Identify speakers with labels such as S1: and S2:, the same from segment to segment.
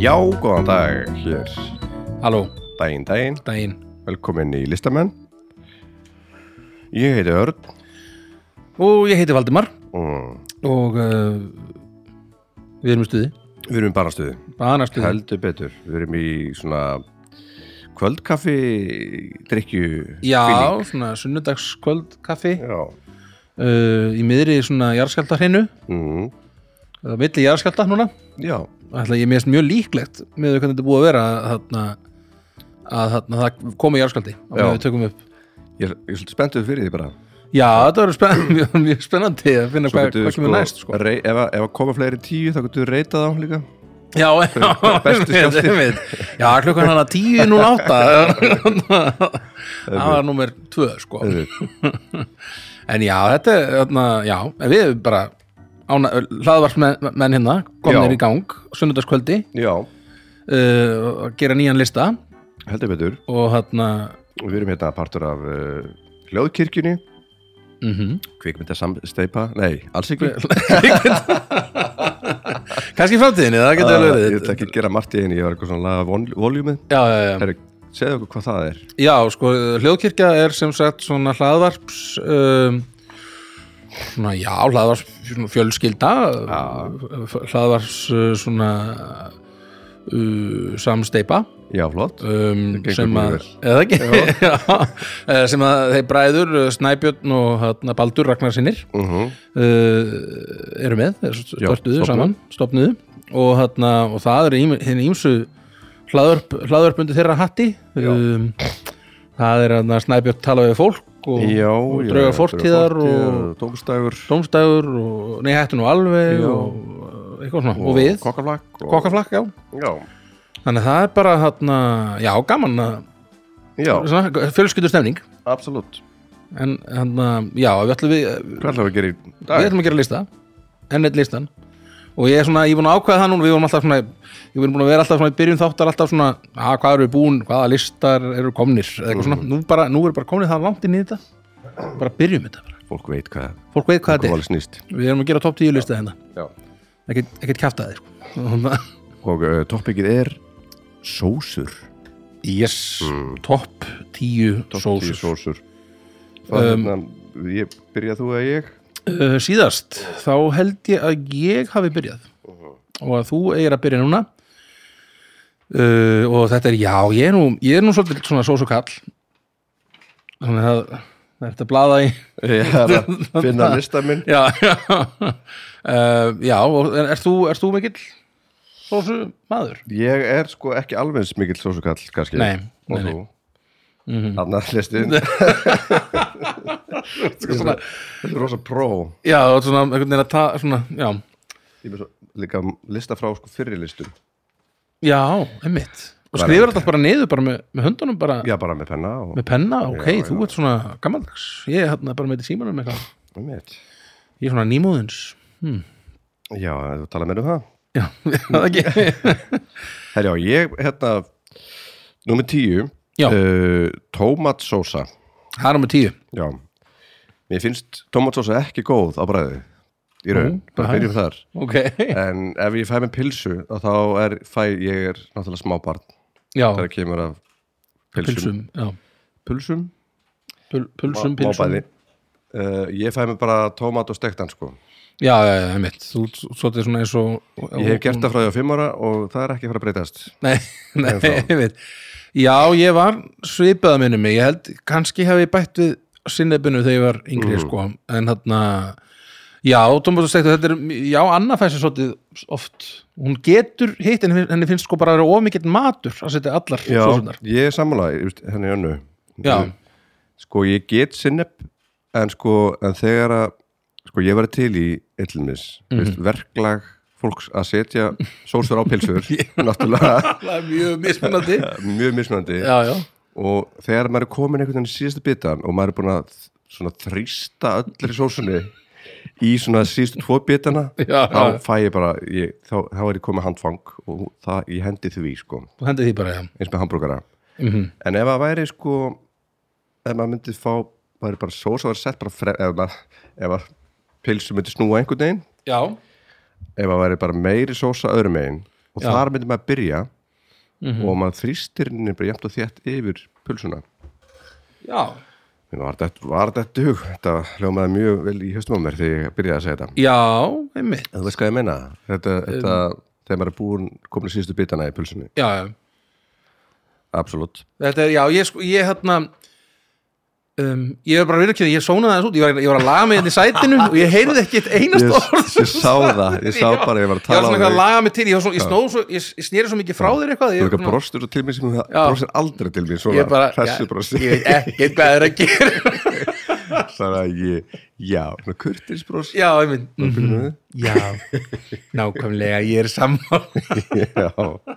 S1: Já, góðan dag, hér
S2: Halló,
S1: daginn, daginn,
S2: daginn
S1: velkomin í listamenn Ég heiti Örn
S2: Og ég heiti Valdimar
S1: mm.
S2: Og uh, við erum í stuði
S1: Við erum í banastuði,
S2: Banastuði
S1: heldur betur Við erum í svona kvöldkaffi drikju
S2: Já,
S1: feeling.
S2: svona sunnudagskvöld kaffi
S1: Já
S2: uh, Í miðri svona jarðskjaldahreinu
S1: mm.
S2: Það er milli jarðskjaldar núna
S1: Já,
S2: Ætla ég meðast mjög líklegt með því hvernig þetta er búið að vera að, þarna, að þarna, það komi jarðskjaldi á meðan
S1: Já.
S2: við tökum upp
S1: ég, er- ég er svolítið spenntuð fyrir því bara
S2: Já, þetta verður spenn, mjög, mjög spennandi að finna hvað,
S1: getur
S2: hvað kemur næst sko.
S1: rei, ef, að- ef að koma fleiri en tíu þá getur þú reytað á líka
S2: Já, já,
S1: Bestu
S2: einmitt,
S1: skjálfti.
S2: einmitt. Já, klukkan hann að tíu núna Það var númer tvö sko.
S1: Auðvitað.
S2: En já, þetta er þarna, Já, en við erum bara hlaðvarsmenn menn hérna
S1: Já.
S2: komnir í gang, sunnudagskvöldi
S1: Já,
S2: uh, að gera nýjan lista
S1: heldur betur
S2: og hérna
S1: Við erum hérna partur af uh, hljóðkirkjunni
S2: mm
S1: kvikmyndasamsteipa, nei, alls ekki
S2: kannski í framtíðinni, það getur
S1: Ah,
S2: alveg
S1: Ég
S2: verið
S1: ætla ekki að gera margt í henni, ég var eitthvað svona að laga vol- voljúmið
S2: já, já, já.
S1: Herru, segðu okkur hvað það er
S2: já, sko, hljóðkirkja er sem sagt svona hlaðvarps um, svona, já, hlaðvarps svona fjölskylda já. hlaðvarps uh, svona uh, samsteipa
S1: Já, flott
S2: um,
S1: gengur
S2: sem
S1: mjög
S2: að eða ekki Já. Eh, sem að þeir bræður eh, Snæbjörn og hana, Baldur Ragnarsinnir
S1: uh
S2: uh, eru með eh, störtuðu
S1: Já, stofnuðu.
S2: saman, stopnuðu og, hana, og það eru ím- hin ímsu hlaðvörp, hlaðvörp undir þeirra hatti um, það er hana, Snæbjörn tala við fólk og,
S1: Já,
S2: og
S1: já,
S2: drauga fortíðar og
S1: Tókustægur
S2: tómstægur og nei hættu nú alveg og, eh, eitthvað svona, og, við,
S1: Kokkaflakk og-
S2: kokkaflakk já.
S1: Já,
S2: þannig að það er bara hana, já, gaman að
S1: já,
S2: fjölskyldur stemning
S1: absolutt
S2: en hann já, við ætlum við,
S1: Hvað ætlum við að gera í dag?
S2: við ætlum að gera lista enn eitt listan og ég er svona, ég er búin að ákveða það núna við vorum alltaf svona, ég vorum búin að vera alltaf svona í byrjun þáttar alltaf svona, að hvað eru við búin hvaða listar eru komnir, eða eitthvað svona nú, bara, nú er bara komnir það langt inn í þetta bara byrjum þetta, bara.
S1: Fólk veit hvað
S2: fólk veit hvað
S1: Hvað
S2: þetta
S1: var snýst
S2: er við erum að gera top 10 lista hérna,
S1: Já
S2: ekkert, ekkert kjafta þér sko.
S1: Og uh, toppikið er Sósur
S2: yes, top 10
S1: Tíu
S2: sósur
S1: Sósur Hvað um, ég, byrja þú að ég?
S2: Uh, síðast, þá held ég að ég hafi byrjað
S1: Mhm.
S2: og að þú eigir að byrja núna uh, og þetta er já, ég er nú, ég er nú svolítið svona sósukall þannig að það er þetta blaða í
S1: Ég er að finna lista minn
S2: já, já uh, já, og er, er þú, er þú mikill sósu maður?
S1: Ég er sko ekki alveg eins mikill sósukall kannski
S2: Nei,
S1: og
S2: nei, Mhm. nei.
S1: þú Annað listin Þetta er rosa pró
S2: Já, þú ert svona, einhvern veginn að ta, svona, já
S1: Ég er svo líka lista frá sko fyrri listum
S2: já, emmitt og
S1: Bara-
S2: skrifur þetta bara niður bara með, með höndunum bara
S1: Já, bara með penna og
S2: með penna, ok,
S1: Já,
S2: þú ert svona gammaldags, ég er hérna bara með þetta í símanum eitthvað
S1: með mitt
S2: Ég er svona nýmóðins
S1: Já, þú tala með um það
S2: Já, það ekki
S1: Herjá, ég, hérna Númer tíu
S2: Já.
S1: uh, Tómatsósa
S2: Það er nummer tíu
S1: Já Mér finnst tómatsósa ekki góð á bræði Í raun,
S2: Ó,
S1: bara
S2: hæ.
S1: byrjum þar
S2: Ok
S1: En ef ég fæ með pilsu að þá er, fæ, ég er náttúrulega smábarn
S2: Já,
S1: þegar kemur af pilsum,
S2: pulsum
S1: pilsum.
S2: já.
S1: pulsum?
S2: Pul, Pulsum,
S1: Má- má
S2: pilsum
S1: bæði. Uh, ég fæ mér bara tómat og stektan sko
S2: Já, já, já, einmitt Þú ert svolítið svona eins og
S1: ég hef gert það frá því á fimm ára og það er ekki að fara að breytast
S2: Nei, nei, einmitt Já, ég var svipaða minni mig Ég held, kannski hef ég bætt við sinnebinu þegar ég var yngri,
S1: Mm.
S2: sko En þarna Já, Tómas og Stektur, þetta er, já, Anna fæst sér svolítið oft, hún getur hitt en henni finnst sko bara að vera ómikið matur að setja allar
S1: já,
S2: sósunar
S1: ég er sammála ég veist, henni önnu
S2: Já.
S1: sko ég get sinnepp en sko en þegar að sko ég var til í illumis mm -hmm. verklag fólks að setja sósur á pilsur náttúrulega
S2: Það er mjög mismunandi
S1: mjög mismunandi
S2: Já, já
S1: og þegar maður er komin einhvern veginn í síðasta bitan og maður er búin að svona þrýsta öllri sósunni í svona síðustu tvo bitana
S2: Já.
S1: þá fæ ég bara ég, þá, þá er ég komið handfang og það, ég hendi því sko,
S2: Þú hendið því bara, já.
S1: eins með hambúrgara
S2: Mm
S1: en ef það væri sko ef maður myndi fá, væri bara sósa var sett bara fre, ef maður, ef maður pilsu myndi snúa einhvern veginn
S2: Já.
S1: ef það væri bara meiri sósa öðrum megin og
S2: Já. Mhm.
S1: þar myndir maður byrja og maður þrýstir henni bara jæmt og þétt yfir pulsuna
S2: já,
S1: Mér var þetta, var þetta dug þetta hljómaði mjög vel í höstum á mér þegar ég byrjaði að segja þetta
S2: já, einmitt
S1: En þú veist hvað ég meina Um, þetta, þetta, þegar maður er búin komin í síðustu bitana í pulsunni,
S2: já, já,
S1: absolutt
S2: þetta er, já, ég sko, ég hérna um, ég er bara að viðurkenna, ég sónaði þess út ég var, ég var að laga mig hérna í sætinu og ég heyrði ekki eitt
S1: ég,
S2: einast orð
S1: ég sá það, ég sá bara að ég var að
S2: ég var svona
S1: tala á
S2: eitthvað að
S1: þig
S2: laga mig til, ég, var svo, ég, snóð svo, ég, ég snýri svo mikið frá þér eitthvað
S1: þú
S2: ég,
S1: eitthvað brostur og til mér sem þú brostir aldrei til mér
S2: ég
S1: svona
S2: bara,
S1: hressu
S2: ég,
S1: brosti
S2: ég, ekkert hvað er að gera
S1: það er að ég, já, svona kurtis brost
S2: já, ég mynd mhm, já, nákvæmlega, ég er sammál
S1: já,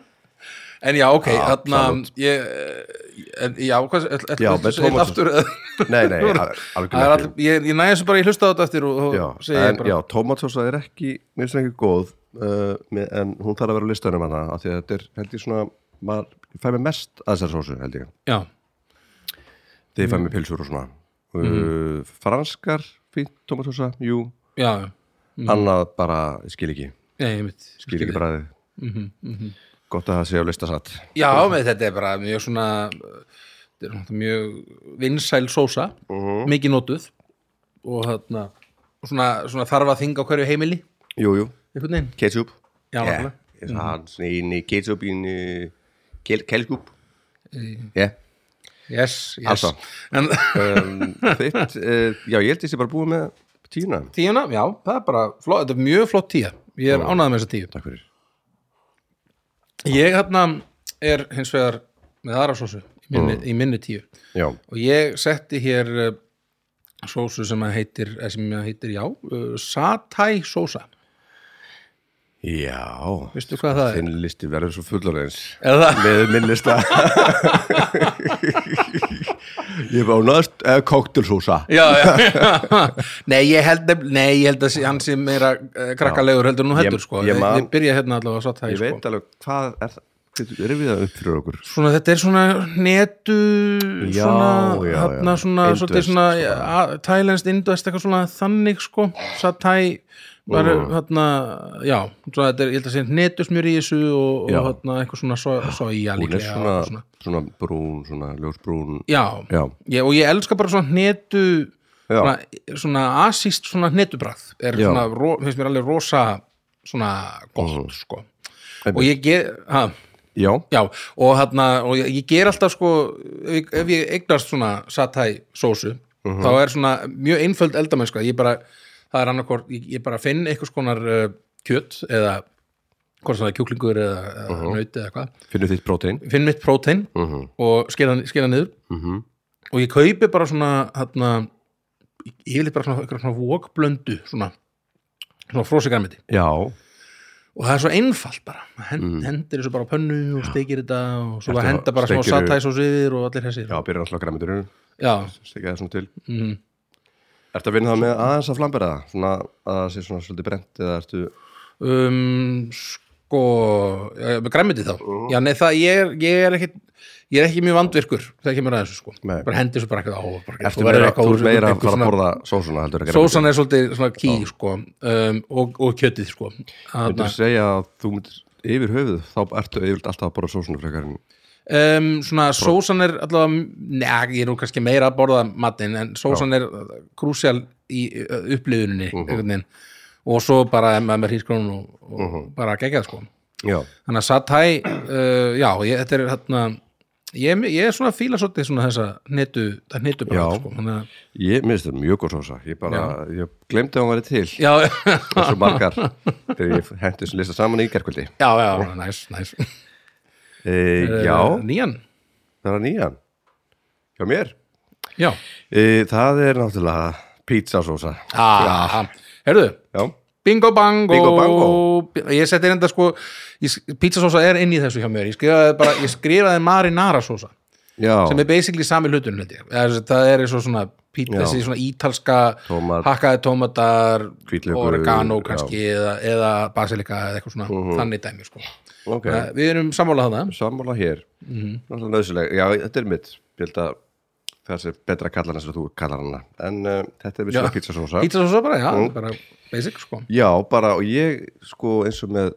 S2: en já, ok,
S1: Já,
S2: þarna
S1: absolutt.
S2: ég, eh, en, já, hvað, ætla
S1: Já,
S2: að
S1: með
S2: segja
S1: Tómas-
S2: aftur eða-
S1: nei, nei,
S2: Það
S1: al-
S2: er
S1: algjörlega
S2: all,
S1: ekki.
S2: ég, ég næði þessu bara, ég hlusta á þetta eftir og, og
S1: já,
S2: segja
S1: en,
S2: bara
S1: já, tomatsósa er ekki mér finnst hún ekki góð uh, með, en hún þarf að vera á listanum hana af því að þetta er, held ég svona maður fæ mér mest að þessar sósu, held ég
S2: já,
S1: þegar ég fæ mér pilsur og svona uh, franskar, fínt tomatsósa jú,
S2: já,
S1: annað bara ég skil ekki,
S2: já, ég mitt
S1: skil ekki bræðið gott að það sé á listasatt
S2: Já, með þetta er bara mjög svona eh, þetta er náttúrulega mjög vinsæl sósa,
S1: Mhm.
S2: mikið notuð og þarna og svona, svona þarf að þinga á hverju heimili
S1: jú, jú,
S2: einhvern veginn,
S1: ketchup
S2: já,
S1: yeah.
S2: náttúrulega
S1: hann inn í ketchup inn í kel, kelskúp já
S2: yes, yes
S1: Alltaf.
S2: en
S1: um, þitt, uh, já ég held ég sé bara búið með tíuna
S2: tíuna, já, það er bara flott, þetta er mjög flott tíja ég
S1: Mm.
S2: er ánægð með þessa tíu
S1: takk fyrir
S2: ég hérna er hins vegar með aðra sósu í minni,
S1: Mm.
S2: í minni tíu
S1: já,
S2: og ég setti hér uh, sósu sem að heitir, eh, sem að heitir já, uh, satay sósa
S1: já
S2: veistu hvað það er?
S1: þinn listi verður svo fullur eins
S2: Er það?
S1: með minn lista ég var náðast eða koktelsósa
S2: Já, já, nei, ég held, nefn- nei, ég held að sé- hann sé meira uh, krakkalegur heldur nú heldur,
S1: Ég-
S2: sko,
S1: ég
S2: ég,
S1: man-
S2: ég byrja hérna allavega satay,
S1: ég
S2: sko
S1: veit alveg hvað er það hvað er við það upp fyrir okkur
S2: Svona, þetta er svona netu
S1: Já,
S2: svona,
S1: já, já.
S2: hafna, svona,
S1: Indverst,
S2: svolítið svona,
S1: svona.
S2: svona. Thailands, Indvest, eitthvað svona þannig sko, satæ bara, mm. hérna, já svona, þetta er, ég held að segja, netusmjör í þessu og,
S1: Já.
S2: og hérna, eitthvað svona so, soja
S1: hún er
S2: líklega
S1: svona,
S2: og svona.
S1: svona brún, svona ljósbrún
S2: Já,
S1: já,
S2: Ég, og ég elska bara svona netu
S1: Já.
S2: svona, svona asíst svona netubræð er
S1: Já. Mhm.
S2: svona, ro, finnst mér alveg rosa svona gott, sko
S1: Einmitt.
S2: og ég get, hæ
S1: já,
S2: Já, og, þarna, og ég, ég ger alltaf sko, ef ég- ef ég eignast svona satay sósu, þá er svona mjög einföld eldamennska, ég bara það er annarkvort, ég, ég bara finn einhvers konar uh, kjöt eða hvort sem það er kjúklingur eða uh naut eða hvað,
S1: finnur þitt prótein
S2: finn mitt prótein og skera, skera niður
S1: Mhm.
S2: og ég kaupi bara svona þarna, ég vil bara svona, einhverja svona vokblöndu svona, svona frósikarmiti
S1: já,
S2: og það er svo einfalt bara Maður hend, hendir þessu bara á pönnu og steikir þetta og svo
S1: Mm. Ertu
S2: bara
S1: að
S2: henda bara smá
S1: steikirðu-
S2: satæs og siðir og allir hessir
S1: já, byrjar alltaf græmitur
S2: já,
S1: stekja það svona til
S2: Mhm.
S1: Ertu að vinna það með aðeins að flambera það? Svona að það sé svona svolítið brent eða ertu...
S2: um, sko ja, með græmiti þá
S1: Mm.
S2: já, nei, það, ég, er, ég er ekki ég er ekki mjög vandvirkur þegar kemur að þessu sko
S1: Nei.
S2: bara hendi þessu bara eitthvað á og bara,
S1: Ertu
S2: svo verður
S1: meira,
S2: eitthvað úr
S1: þú ert
S2: þessu,
S1: meira að
S2: eitthvað
S1: fara að
S2: svona-
S1: borða sósuna heldur að
S2: sósan er svolítið svona ký sko um, og, og kjötið sko
S1: Þú myndir
S2: Þarna,
S1: segja að þú myndir yfir höfuð, þá ertu yfirlt alltaf að borða sósuna frekar en...
S2: um, svona sósan er allavega neða, ég er nú kannski meira að borða matinn en sósan er uh, krúsjál í uh, upplifuninni
S1: Mhm.
S2: einhvern veginn og svo bara með með hrískrónun og, og
S1: Mhm.
S2: bara gegja það sko
S1: Já.
S2: þannig að satæ, uh, já, ég, þetta er hérna, ég, er mjög- ég er svona að fíla svolítið svona þessa netu, það netu bara
S1: Já.
S2: sko, þannig að
S1: Ég minnst það mjög góð sósa. Ég bara, ég glemdi að hún væri til
S2: já,
S1: þessu margar þegar ég hendur þessu lista saman í gerkvöldi.
S2: já, já, næs, næs
S1: E, já,
S2: nýjan,
S1: það er nýjan. Hjá mér.
S2: já,
S1: E, það er náttúrulega pizzasósa.
S2: ah, herðu
S1: Já.
S2: Bingo bango,
S1: Bingo bango.
S2: Ég seti reynda sko ég, Pizzasósa er inn í þessu hjá mér Ég skrifaði, bara, ég skrifaði marinara sósa
S1: Já.
S2: sem er basically sami hlutun hluti. það er eins og svona pít,
S1: Já.
S2: þessi svona ítalska
S1: Tómat.
S2: hakkaði tómatar
S1: Hvítlaukur,
S2: oregano
S1: já. Mhm.
S2: kannski eða, eða basilika eða eitthvað svona þannig dæmi sko.
S1: Ok.
S2: okay. Við erum sammálað þarna
S1: sammála hér náttúrulega nöðsileg, já þetta er mitt ég held að það sé betra að kalla hann sem þú kallar hann en uh, þetta er visslega pizzasósa
S2: Pizzasósa bara, já, bara basic sko
S1: já bara og ég sko eins og með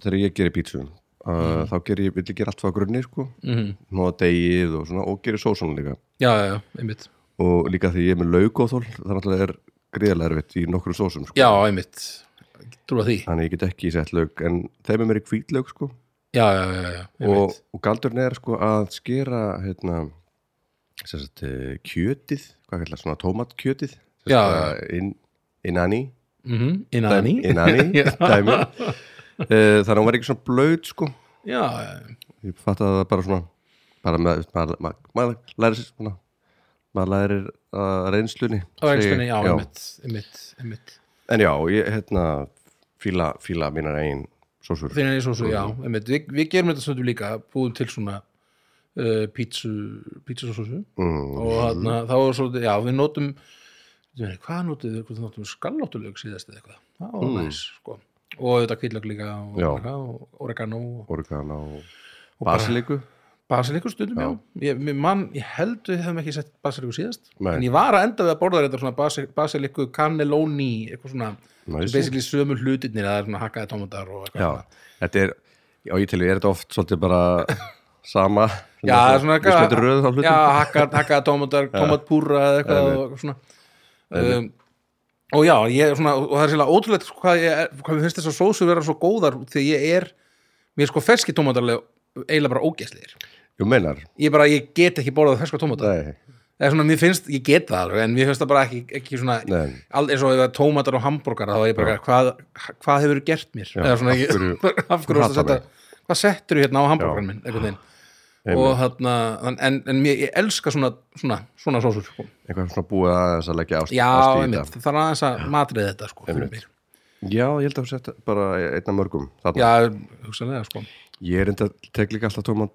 S1: þegar ég gerir pizzu uh, þá ger ég, vill ég gera allt frá grunni sko,
S2: Mhm.
S1: nóða degið og svona og gerir sósuna líka
S2: já, já, já, einmitt
S1: og líka því ég er með lauk og þól það náttúrulega er gríðarlega erfitt í nokkrum sósum sko.
S2: já, einmitt, trúa því já,
S1: þannig ég get ekki sett lauk en þeim er mér í hvítlauk sko
S2: já, já, já,
S1: og,
S2: einmitt
S1: og galdurinn er sko að skera hérna sem sagt, eh, kjötið, hvað kallar svona tómatkjötið sem
S2: Já.
S1: sagt, eh, inn- innani
S2: Mhm, innan í
S1: innani dæmi Eh, þannig að hún var ekki svona blöð sko
S2: já, já,
S1: ég fatt að það bara svona bara með, maður ma, ma, lærir sér svona maður lærir að reynslunni
S2: á reynslunni,
S1: segi-
S2: já, einmitt einmitt, einmitt
S1: en já, ég hérna fíla, fíla mínar eigin sósur
S2: þínan í sósu, já,
S1: Mm.
S2: einmitt Vi, við gerum þetta stundum líka, búum til svona uh, pítsu pítsusósu
S1: mm,
S2: og þarna, þá er svolítið, já, við nótum ég meina, hvað nótum við, hvað nótum við skallóttuleg síðast eða eitthvað, það var næs sko. og auðvitað kvillögg líka og,
S1: Mm. Já.
S2: eitthvað, og oregano og
S1: organ og
S2: bara-
S1: basiliku
S2: basilikur stundum, já, Ég, ég, man, ég held við hefum ekki sett basiliku síðast
S1: Nei.
S2: en ég var að enda við að borða þetta svona basi, basiliku cannelloni, eitthvað svona
S1: Nice.
S2: basically sömu hlutirnir að það er svona hakkaði tómatar og eitthvað
S1: já, þetta er já, ég til ég er þetta oft svolítið bara sama
S2: Já, það er svona
S1: við smetum röðu
S2: Já,
S1: þá hlutum
S2: hakkað hakka tómatar, tómatpúra eða eitthvað og svona um, Og já, ég er svona og það er sérlega ótrúlegt sko hvað, ég, er- hvað mér finnst þess að sósur vera svo góðar því ég er, mér er sko ferski tómatarlega eiginlega bara ógeðslegir
S1: jú meinar,
S2: Ég bara, ég get ekki borðað ferska tómatar
S1: nei,
S2: eða svona, mér finnst, ég get það alveg en mér finnst það bara ekki, ekki svona
S1: nei
S2: all, eins og ef það er tómatar og hambúrgar þá er ég bara, hvað, hvað hefur gerst mér eða svona,
S1: af
S2: ég,
S1: hverju-
S2: af hverju varstu að setja
S1: hatar
S2: hvað settur þú hérna á hambúrgar
S1: Já.
S2: minn einhvern veginn
S1: Einmitt.
S2: og þarna, þann- en, en mér, ég elska svona, svona, svona sósur sko.
S1: eitthvað svona búið aðeins að leggja ást,
S2: já,
S1: ást í
S2: einmitt,
S1: þetta
S2: það er aðeins að matrið þetta sko, fyrir mér,
S1: já, ég held að þú sett bara einna mörgum þarna.
S2: já, hugsanlega sko.
S1: ég er enda, tek líka alltaf tómat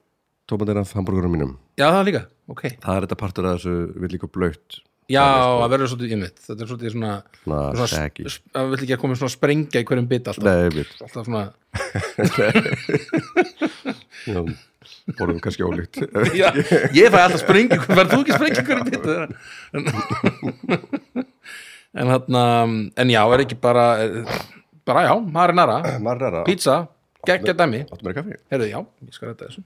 S1: tómatir af hambúrgurum mínum
S2: já, það líka, ok já,
S1: það er þetta partur að þessu vill líka blöytt sko.
S2: það verður svolítið einmitt, þetta er svolítið svona
S1: svona
S2: svona,
S1: segi
S2: s- að við vill ekki að koma svona sprengja í hverjum bit alltaf,
S1: nei, við
S2: alltaf svona
S1: já, borðum kannski ólíkt
S2: Já, ég fæ alltaf sprengi verður þú ekki sprengi hverju bitu en, en hann um, en já, er ekki bara bara já, marinara,
S1: marrara,
S2: pizza geggja dæmi,
S1: áttu mér kaffi
S2: heyrðu já ég skal rætta þessu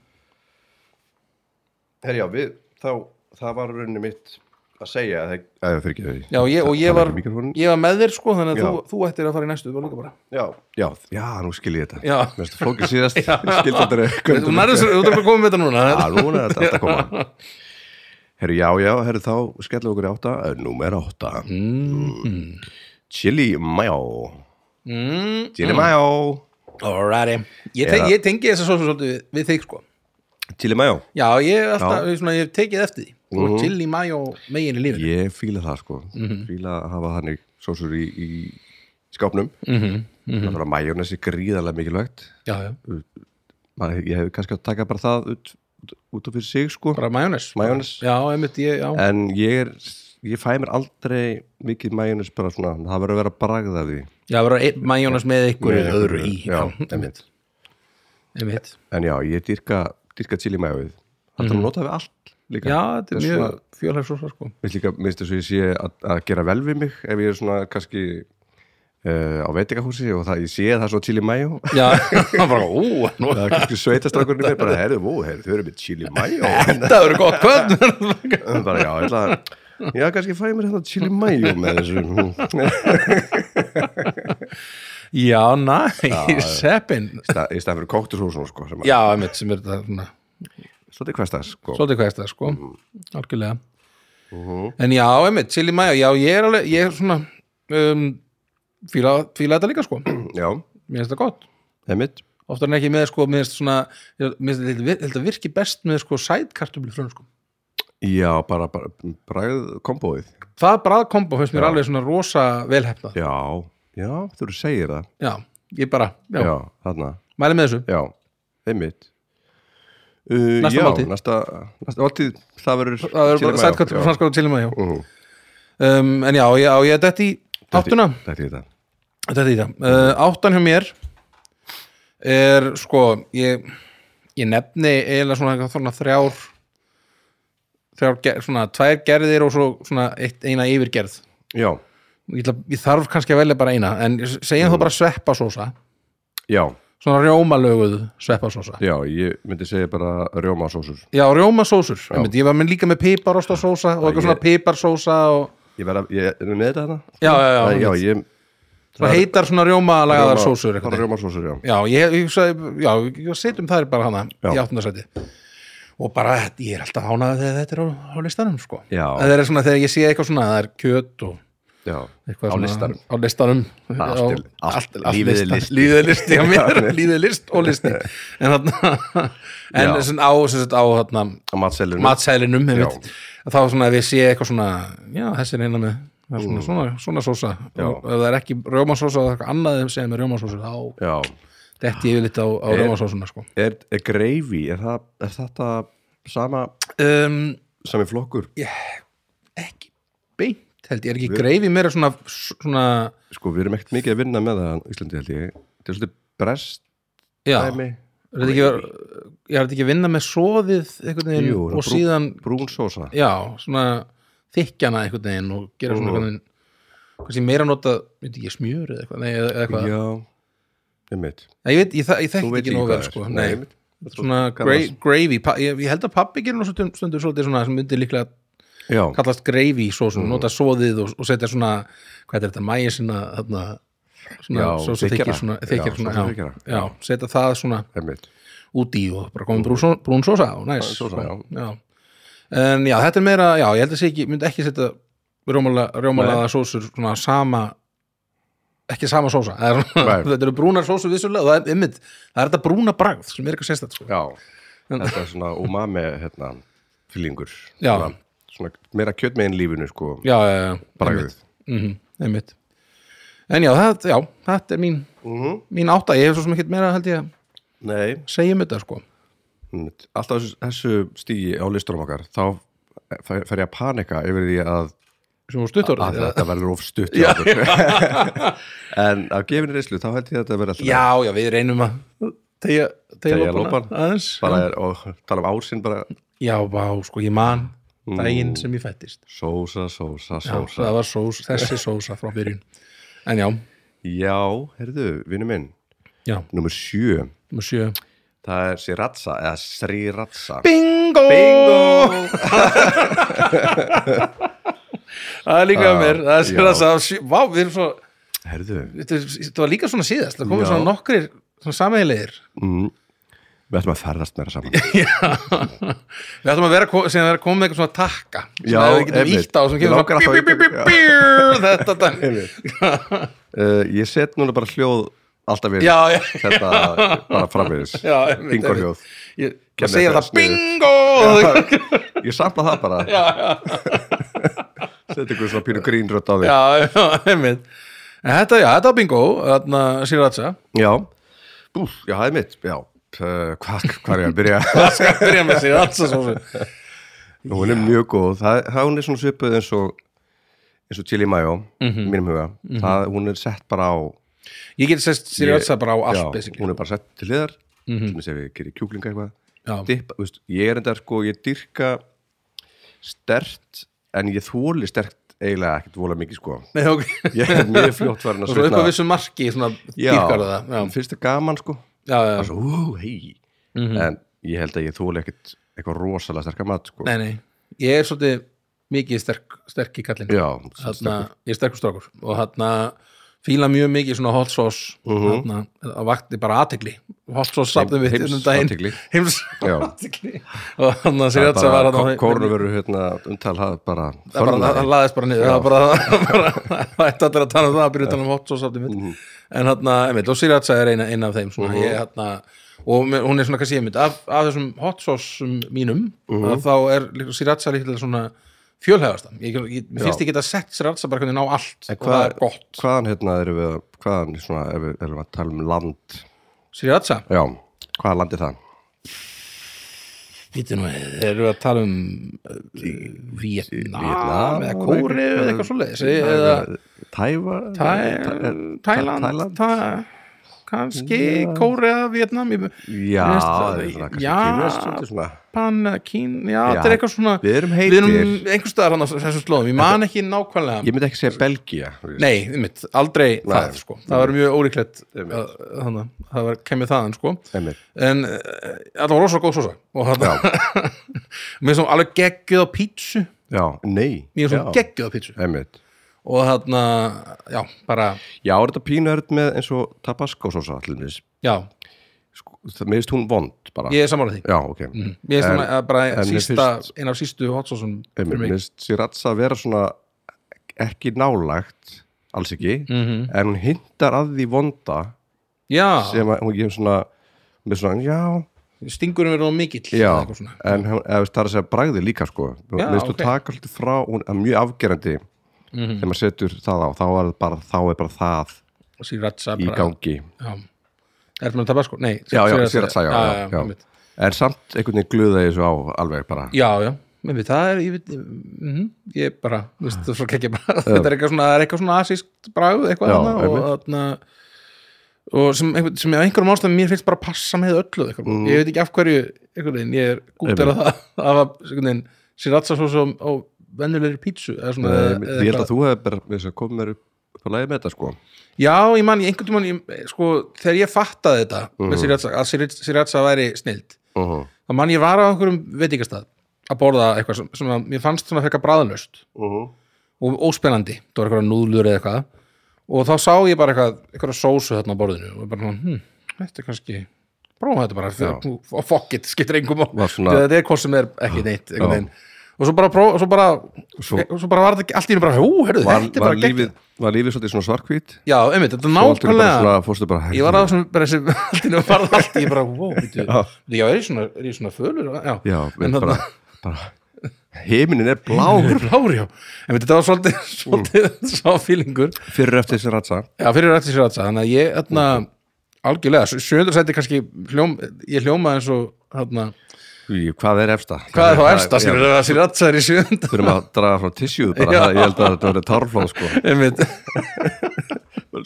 S1: herjá, við, þá, það var rauninni mitt að segja að það fyrir ekki því
S2: já, ég, og ég var, ég var með þér sko þannig að
S1: Já.
S2: þú, þú ættir að fara í næstu bara líka bara
S1: já, já, já, nú skil ég þetta
S2: Já.
S1: Mér finnst flókið síðast, skil þetta
S2: þú nærður þessu, þú þarf að koma með þetta núna
S1: Já, núna er þetta allt að koma Herru, já, já, herru, þá skellum við okkur í átta Númer átta
S2: mm.
S1: Chili mayo
S2: Mm.
S1: Chili mayo
S2: alrighty ég, te,
S1: Eða-
S2: ég tengi þess að svo svolítið við, við þig sko
S1: Chili mayo
S2: já, ég er alltaf, svona, ég hef tekið eftir því þú er chili mayo megin í lífinu
S1: Mhm. Ég fíla það, sko
S2: Mhm.
S1: Fíla að hafa þannig sósur í, í skápnum mm
S2: Mhm,
S1: -hmm. Það þarf að majónes er gríðarlega mikilvægt
S2: já, já
S1: Maður, Ég hef kannski að taka bara það út, út af fyrir sig, sko
S2: bara majónes
S1: Majónes.
S2: já, einmitt, ég, já,
S1: En ég er Ég fæ mér aldrei mikið majónes bara svona, það verður að vera bragð af því
S2: já vera einn majónes með einhverju
S1: Með
S2: öðru í
S1: einhverju,
S2: já,
S1: já,
S2: einmitt einmitt,
S1: En já, ég dyrka, dyrka chili majóið Það þarf að nota við allt líka
S2: Mhm. já, þetta er
S1: svona,
S2: mjög fjölhæf sósa sko,
S1: Mér líka minnst þess að ég sé að, að gera vel við mig ef ég er svona kannski uh, á veitingahúsi og það, ég sé það svo chili majó
S2: já, það var bara ú, nú
S1: það er kannski sveitastrákurinn í mér bara, herðu, vó, herðu, þau eru með chili majó
S2: þetta verður gott kvöld
S1: bara, já, ætla að Já, kannski fæ ég mér hérna chili majó með þessu
S2: já, næ, seppin
S1: Sta- í stað fyrir kóktusúsum, sko sem að-
S2: já, einmitt, sem er þetta svona
S1: Svolítið hverstað, sko
S2: svolítið hvað er þetta sko, algjörlega en já, einmitt, chili mayo já, ég er alveg, ég er svona um, fíla, fíla þetta líka sko mér
S1: Já,
S2: finnst þetta gott
S1: einmitt
S2: oftar en ekki með sko, mér finnst svona ég- mér finnst þetta- ég held að virki best með sko sætkartöflu frönn sko.
S1: Já, bara, bara bragð kompóið
S2: það bræðkombo finnst mér alveg svona rosa velhefnað,
S1: Já, já, þú segir það
S2: já, ég bara já,
S1: Já, þarna
S2: mæli með þessu,
S1: Já, einmitt uh,
S2: Næsta
S1: já,
S2: máltíð.
S1: Næsta, næsta máltíð Það verður
S2: það
S1: chili
S2: er
S1: mayo.
S2: sætkartöflu
S1: Já.
S2: frönn sko til maður, já
S1: Mhm.
S2: um, en já, ég, á, ég dætt í áttuna,
S1: Þetta er þetta
S2: þetta er í það uh, áttan hjá mér er sko ég, ég nefni eiginlega svona, svona þrjár þrjár, ger- svona tvær gerðir og svo svona eitt, eina yfirgerð
S1: Já, Mm.
S2: ég, ætla, ég þarf kannski að velja bara eina en segjum þá bara sveppasósa
S1: já,
S2: svona rjómalöguð sveppasósa
S1: já, ég myndi segja bara rjómasósur
S2: Já, rjómasósur, einmitt, ég var með líka með piparostasósa og eitthvað
S1: ég-
S2: svona piparsósa og
S1: Ég verða, ég er með þetta hérna
S2: Já, já, já,
S1: já, ég
S2: svona heitar svona rjómalagaðar sósur
S1: Bara
S2: eitthvað.
S1: rjómasósur, já
S2: Já, ég, ég, sagði, já, ég setjum þær bara hana
S1: Já.
S2: í áttundasæti og bara, ég er alltaf hánað þegar þetta er á, á listanum, sko
S1: Já.
S2: Það er svona þegar ég sé eitthvað svona, það er kjöt og
S1: Já,
S2: eitthvað
S1: á
S2: svona-
S1: listanum
S2: Á listanum
S1: allt
S2: Já,
S1: er- allt-
S2: allt- allt
S1: lífið er
S2: listar-
S1: listi.
S2: Lífið er listi, já, mér
S1: Já.
S2: Lífið er list og listi En þarna, en
S1: Já.
S2: sem á, sem sagt á, þarna
S1: Á matselinu
S2: matsælunum einmitt. þá svona ef ég sé eitthvað svona já, þessi er eina með það er svona, svona, svona sósa
S1: Mm. Já.
S2: og ef það er ekki rjómasósa eða eitthvað annað sem er með rjómasósa þá
S1: Já,
S2: detti ég yfirleitt á,
S1: Eh.
S2: á rjómasósuna sko.
S1: er, er greifi, er, það, er þetta sama,
S2: um,
S1: sami flokkur?
S2: ekki beint held ég er ekki greifi meira svona, svona
S1: Sko, við erum ekkert mikið að vinna með það á Íslandi held ég Þetta er svolítið brest
S2: já, er
S1: dæmi
S2: þetta ekki að- ég er þetta ekki að vinna með soðið einhvern veginn
S1: Jú,
S2: og síðan
S1: Brún sósa
S2: já, svona þykkjana einhvern veginn og gera svona
S1: Mm.
S2: einhvern veginn kannski meira nota, veit ekki, smjör eða eitthvað, nei, eða eða eitthvað.
S1: Já, einmitt
S2: Nei, Ég veit, ég, þa- ég
S1: Þú
S2: þekkt
S1: veit
S2: ekki
S1: ekki
S2: nóg vel
S1: hvað það er.
S2: sko,
S1: Nei,
S2: nei,
S1: einmitt.
S2: svona gra
S1: kallast-
S2: gravy, pa- ég, ég held að pappi gerir nú stundum, stundum svolítið svona sem myndi líklega
S1: Já, Mm.
S2: kallast gravy sósum, nota sóðið og, og setja svona, hvað er þetta, mæja sinna þarna, svona,
S1: Já,
S2: sósu
S1: þykkjara.
S2: þykir svona, þykir
S1: Já,
S2: svona,
S1: sósu
S2: já,
S1: þykkjara.
S2: já, setja það svona
S1: einmitt
S2: út í og bara komið brún, só- brún sósa og næs,
S1: sósa,
S2: sko,
S1: já.
S2: en já, þetta er meira, já, ég held að sé ekki, myndi ekki setja rjómala, rjómalaða sósur svona sama ekki sama sósa Það er svona,
S1: Nei.
S2: þetta eru brúnar sósur vissulega og það er, einmitt, það er þetta brúna bragð sem er eitthvað sérstætt sko.
S1: Já, þetta er svona umami hérna, fyllingur
S2: Já.
S1: svona, svona meira kjötmegin lífinu sko,
S2: já, já, já,
S1: bragðið
S2: mm einmitt en já, það, já, þetta er mín
S1: Mhm.
S2: mín átta, ég hef svo sem ekkert meira held ég að
S1: Nei,
S2: segja um þetta sko
S1: einmitt. alltaf þessu, þessu stígi á listurum okkar þá fer fer ég að panika yfir því að,
S2: sem voru stuttur
S1: að
S2: já,
S1: þetta verður of stutt hjá okkur. en á gefinni reyslu þá held ég að þetta verður alltaf
S2: já, við reynum að tegja,
S1: Teygja
S2: tegja
S1: lópana.
S2: lópan aðeins
S1: bara er, og tala um ásinn bara
S2: já, bá, sko, ég man daginn sem ég fættist
S1: sósa, sósa,
S2: Já,
S1: Mm. sósa
S2: það var sós, þessi sósa frá byrjun en já,
S1: Já, heyrðu, vinnu minn
S2: já,
S1: Númer sjö,
S2: nummer sjö
S1: það er Siratsa eða Sriratsa
S2: Bingo!
S1: Bingo!
S2: Það er líka
S1: Já,
S2: ah, mér, það er sér
S1: já.
S2: að það sjö- Vá, við erum svo,
S1: Heyrðu,
S2: þetta er- þetta var líka svona síðast Það komið
S1: Já.
S2: svona nokkrir, svona sameigilegir
S1: við ætlum að ferðast meira saman
S2: Við ætlum að vera, ko- síðan að vera komið með eitthvað svona takka sem
S1: Já,
S2: að við getum
S1: einmitt.
S2: ítt á, sem
S1: Mig
S2: kemur
S1: langar
S2: svona
S1: alltaf
S2: bí,
S1: í-
S2: bí, bí, bí, bí, Þetta dæmi
S1: uh, Ég set núna bara hljóð alltaf við
S2: Já, já,
S1: Þetta bara framvegis
S2: já einmitt,
S1: Bingo
S2: einmitt.
S1: hljóð
S2: Ég, ég
S1: Kemur
S2: segja
S1: þetta
S2: það
S1: sniðugt.
S2: bingo
S1: Ég samla það bara já, já. Seti ykkur svona pínu grínrödd á þig
S2: Já, já, einmitt En þetta, já, þetta var bingo, þarna Sýratsa
S1: Já, Bú, já, það er mitt Já, uh, hvað hva er ég að byrja?
S2: Það skal byrja með Sýratsa sósu
S1: hún er mjög góð það, það, Hún er svona svipuð eins og eins og Chili Mayo, í mínum huga það, Hún er sett bara á
S2: Ég get sest Sriracha bara á allt,
S1: já,
S2: basically. Mhm.
S1: Hún er bara sett til hliðar mm -hmm. sem við gerir kjúklinga eitthvað
S2: Já.
S1: Dippa, þú veist, Ég er enda sko, ég dyrka stert en ég þóli stert eiginlega ekkert vola mikið sko
S2: Nei, ok.
S1: Ég er mjög fljótt farin að
S2: Og svo upp að
S1: svitna
S2: vissu marki, svona
S1: Já.
S2: dýrkar það. Já,
S1: Fyrst er gaman sko
S2: já, Mhm. já.
S1: Það er svo, ú, hei En ég held að ég þóli ekkert eitthvað rosalega sterka mat sko
S2: Nei, nei. Ég er svolítið mikið sterk, sterk í kallinu.
S1: Já,
S2: Þarna, ég er sterkur strákur og hann fíla mjög mikið svona hot sauce uh að vakti bara aðtegli hot sauce safnum við
S1: heims-
S2: um daginn.
S1: athygli.
S2: heims
S1: Já.
S2: aðtegli og hann að segja þetta var
S1: bara
S2: hann
S1: kórnveru hérna umtal það bara
S2: það bara,
S1: förnaði.
S2: hann laðist bara niður það var bara, bara það ætti allir að tala um það að byrja utan um hot sauce aftur mitt en hann, einmitt, og Sriracha er eina, eina af þeim svona, ég, hann, og me- hún er svona kannski einmitt, af, af þessum hot sauce mínum, að þá er líka- Sriracha líklega svona fjölhæfasta ég, ég, mér finnst ég geta sett Sriracha bara hvernig ná allt og það er gott,
S1: hvaðan hérna erum við að- hvaðan svona ef við erum að tala um land
S2: Sriracha
S1: já, hvaða land er það?
S2: Vítu nú, erum við að tala um uh, Vietnam
S1: Víetnam
S2: eða
S1: og
S2: Kóri
S1: eitthvað-
S2: eða eitthvað svoleiðis eða
S1: Tæva?
S2: Tæ- Tæland
S1: Tæland?
S2: Tæ- kannski Kórea, Vietnam ég-
S1: Já,
S2: Mér finnst
S1: það
S2: það-
S1: er svona kannski
S2: já.
S1: kínverskt svolítið svona.
S2: Japan, eða Kín, já,
S1: Já,
S2: þetta er eitthvað svona
S1: Við erum heitir,
S2: við erum einhver staðar hann á þessum slóðum ég man ekki nákvæmlega
S1: ég myndi ekki segja Belgia þú veist.
S2: Nei, einmitt, aldrei
S1: Nei.
S2: það sko. það var mjög ólíklegt
S1: Einmitt.
S2: að- þannig að það var kemur þaðan sko.
S1: Einmitt.
S2: en eh, þetta var rosa góð sósa og hann mér sem alveg geggjuð á pítsu
S1: Já, nei
S2: mér er
S1: já,
S2: svona geggjuð á pítsu
S1: einmitt.
S2: og þarna, já, bara
S1: Já, er þetta pínu erð með eins og tabasco sósa allir
S2: já,
S1: sko, það meðist hún vond bara
S2: ég er sammála því
S1: Já, ok
S2: ég er svona eh, bara
S1: en mér
S2: sísta, einn af sístu hotsósum
S1: Einmitt,
S2: fyrir mig
S1: minnst Siratsa vera svona ekki nálagt alls ekki,
S2: Mhm.
S1: en hún hindar að því vonda
S2: já,
S1: sem að hún gefur svona með svona, já,
S2: stingurum er nóg mikill
S1: já
S2: eða eitthvað svona.
S1: en hún, eða, veist, það er að segja bragði líka sko
S2: Já,
S1: minnst þú
S2: ok. Mhm.
S1: taka hluti frá, hún er mjög afgerandi þegar maður setur það á þá er, bara, þá er bara það
S2: Sriracha
S1: í
S2: bara-
S1: gangi
S2: já. er það með tabasco? Nei,
S1: já, já,
S2: sriracha-
S1: Siratsa, já, já, já.
S2: einmitt.
S1: en samt einhvern veginn glöða þessu á alveg bara
S2: já, já, með við það er ég, veit, mm ég bara, veist, það er svo ekki bara þetta er eitthvað svona, það er eitthvað svona asískt bragð eitthvað
S1: Já,
S2: þarna og þarna og sem, einhver, sem ég á einhverjum ástæðum mér finnst bara að passa með öllu eitthvað,
S1: Mm.
S2: ég veit ekki af hverju einhvern veginn, ég er gútt er að það það var einhvern veginn siratsa svo sem á venjulegri pítsu eða svona,
S1: Nei,
S2: eða
S1: ég held
S2: eitthvað.
S1: að þú hefur bara með þess að koma mér upp upp að lægi með þetta sko
S2: já, ég man, ég einhvern tímann ég, sko, þegar ég fattaði þetta
S1: Mhm.
S2: með siratsa, að Sirat- siratsa væri snild
S1: uh -huh.
S2: þá man ég var á einhverjum veitingastað að borða eitthvað sem, sem að mér fannst svona frekar bræðlöst og óspennandi, það var eitthvað núðlur eða eitthvað og þá sá ég bara eitthvað eitthvað sósu þarna á borðinu og bara, hm, þetta er kannski prófa þetta bara, fyrir, og fuck it, skiptir engum og
S1: Var svona-
S2: þetta er hvort sem er ekki neitt
S1: Já.
S2: einhvern veginn og svo bara, próf, svo bara svo,
S1: Svo-
S2: bara var þetta ekki, allt í einu bara, hú, herðu,
S1: var,
S2: þetta er
S1: var,
S2: bara gegn
S1: lífið, var lífið svolítið svona svarkvít
S2: já, einmitt, þetta er
S1: og allt er bara
S2: nákvæmlega
S1: svona, fórstu bara
S2: ég var á þessum, bara þessi, allt í einu var allt ég bara, wow, veitu,
S1: Já.
S2: já, er ég svona er ég svona fölur, já,
S1: já,
S2: en
S1: en
S2: þarna
S1: bara, bara heiminin er blár
S2: Blár, blár, já, en þetta var svolítið, svolítið sá fílingur
S1: fyrir eftir þessi ratsa
S2: Já, fyrir rætti sér aðsa, þannig að ég þarna, algjörlega, sjöndur sæti kannski hljóm, ég hljóma eins og þarna,
S1: Í, hvað er efsta?
S2: hvað er þá ersta,
S1: Já,
S2: skilur það að sér aðsa er í sjönda,
S1: þurfum að draga frá tissjúð bara,
S2: Já.
S1: það- ég held að þetta verið tárflóð sko
S2: einmitt